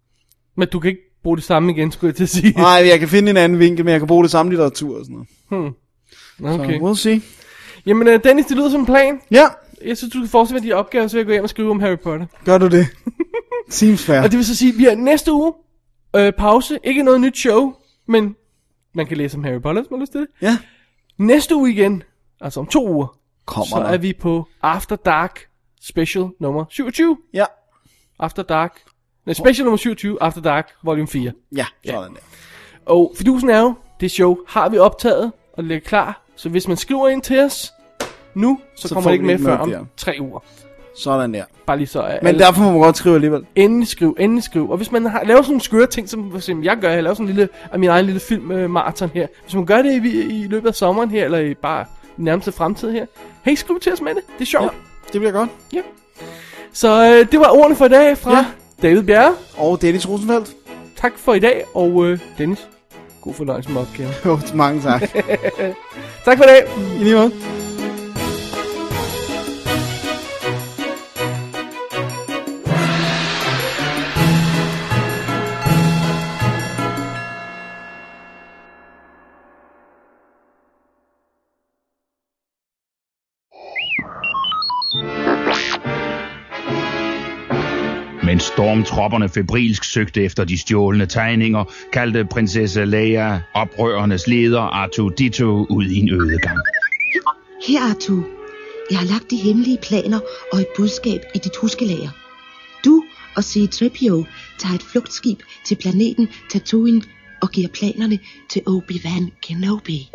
Speaker 6: Men du kan ikke bruge det samme igen, skulle jeg til at sige.
Speaker 5: Nej, jeg kan finde en anden vinkel, men jeg kan bruge det samme litteratur og sådan noget.
Speaker 6: Okay.
Speaker 5: Så we'll see.
Speaker 6: Jamen, øh, Dennis, det lyder som en plan.
Speaker 5: Ja,
Speaker 6: Jeg synes, du kan fortsætte med de opgaver, så jeg går hjem og skriver om Harry Potter.
Speaker 5: gør du det. Seems fair.
Speaker 6: Og det vil så sige, at vi har næste uge øh, pause. Ikke noget nyt show, men man kan læse om Harry Potter, hvis man har lyst til det.
Speaker 5: Ja.
Speaker 6: Næste uge igen, altså om to uger,
Speaker 5: Kommer
Speaker 6: så
Speaker 5: der.
Speaker 6: er vi på After Dark Special nummer 27.
Speaker 5: Ja,
Speaker 6: After Dark. Nej, special nummer 27, After Dark, volume 4.
Speaker 5: ja, sådan der.
Speaker 6: Og fidusen er jo, det show har vi optaget og ligger klar. Så hvis man skriver ind til os nu, så, så
Speaker 5: Så
Speaker 6: kommer
Speaker 5: får
Speaker 6: det ikke
Speaker 5: vi
Speaker 6: med
Speaker 5: ikke
Speaker 6: før
Speaker 5: noget
Speaker 6: om
Speaker 5: der.
Speaker 6: tre uger.
Speaker 5: Sådan der.
Speaker 6: Bare lige så er
Speaker 5: Men
Speaker 6: alle-
Speaker 5: derfor må man godt skrive alligevel.
Speaker 6: Endelig skriv, endelig skriv. Og hvis man har, laver sådan nogle skøre ting, som for eksempel jeg gør, jeg laver sådan en lille, af min egen lille film øh, maraton her. Hvis man gør det i, i løbet af sommeren her, eller i bare nærmeste fremtid her. Hey, skriv til os med det. Det er sjovt. Ja,
Speaker 5: det bliver godt.
Speaker 6: Ja. Så øh, det var ordene for i dag fra ja. David Bjerre.
Speaker 5: Og Dennis Rosenfeldt.
Speaker 6: Tak for i dag, og øh, Dennis, god fornøjelse med opgaven.
Speaker 5: Jo, mange tak.
Speaker 6: tak for i dag.
Speaker 5: I lige måde.
Speaker 2: Mens stormtropperne febrilsk søgte efter de stjålne tegninger, kaldte prinsesse Leia oprørernes leder Artu Ditto ud i en ødegang.
Speaker 13: Her, Artu. Jeg har lagt de hemmelige planer og et budskab i dit huskelager. Du og C-3PO tager et flugtskib til planeten Tatooine og giver planerne til Obi-Wan Kenobi.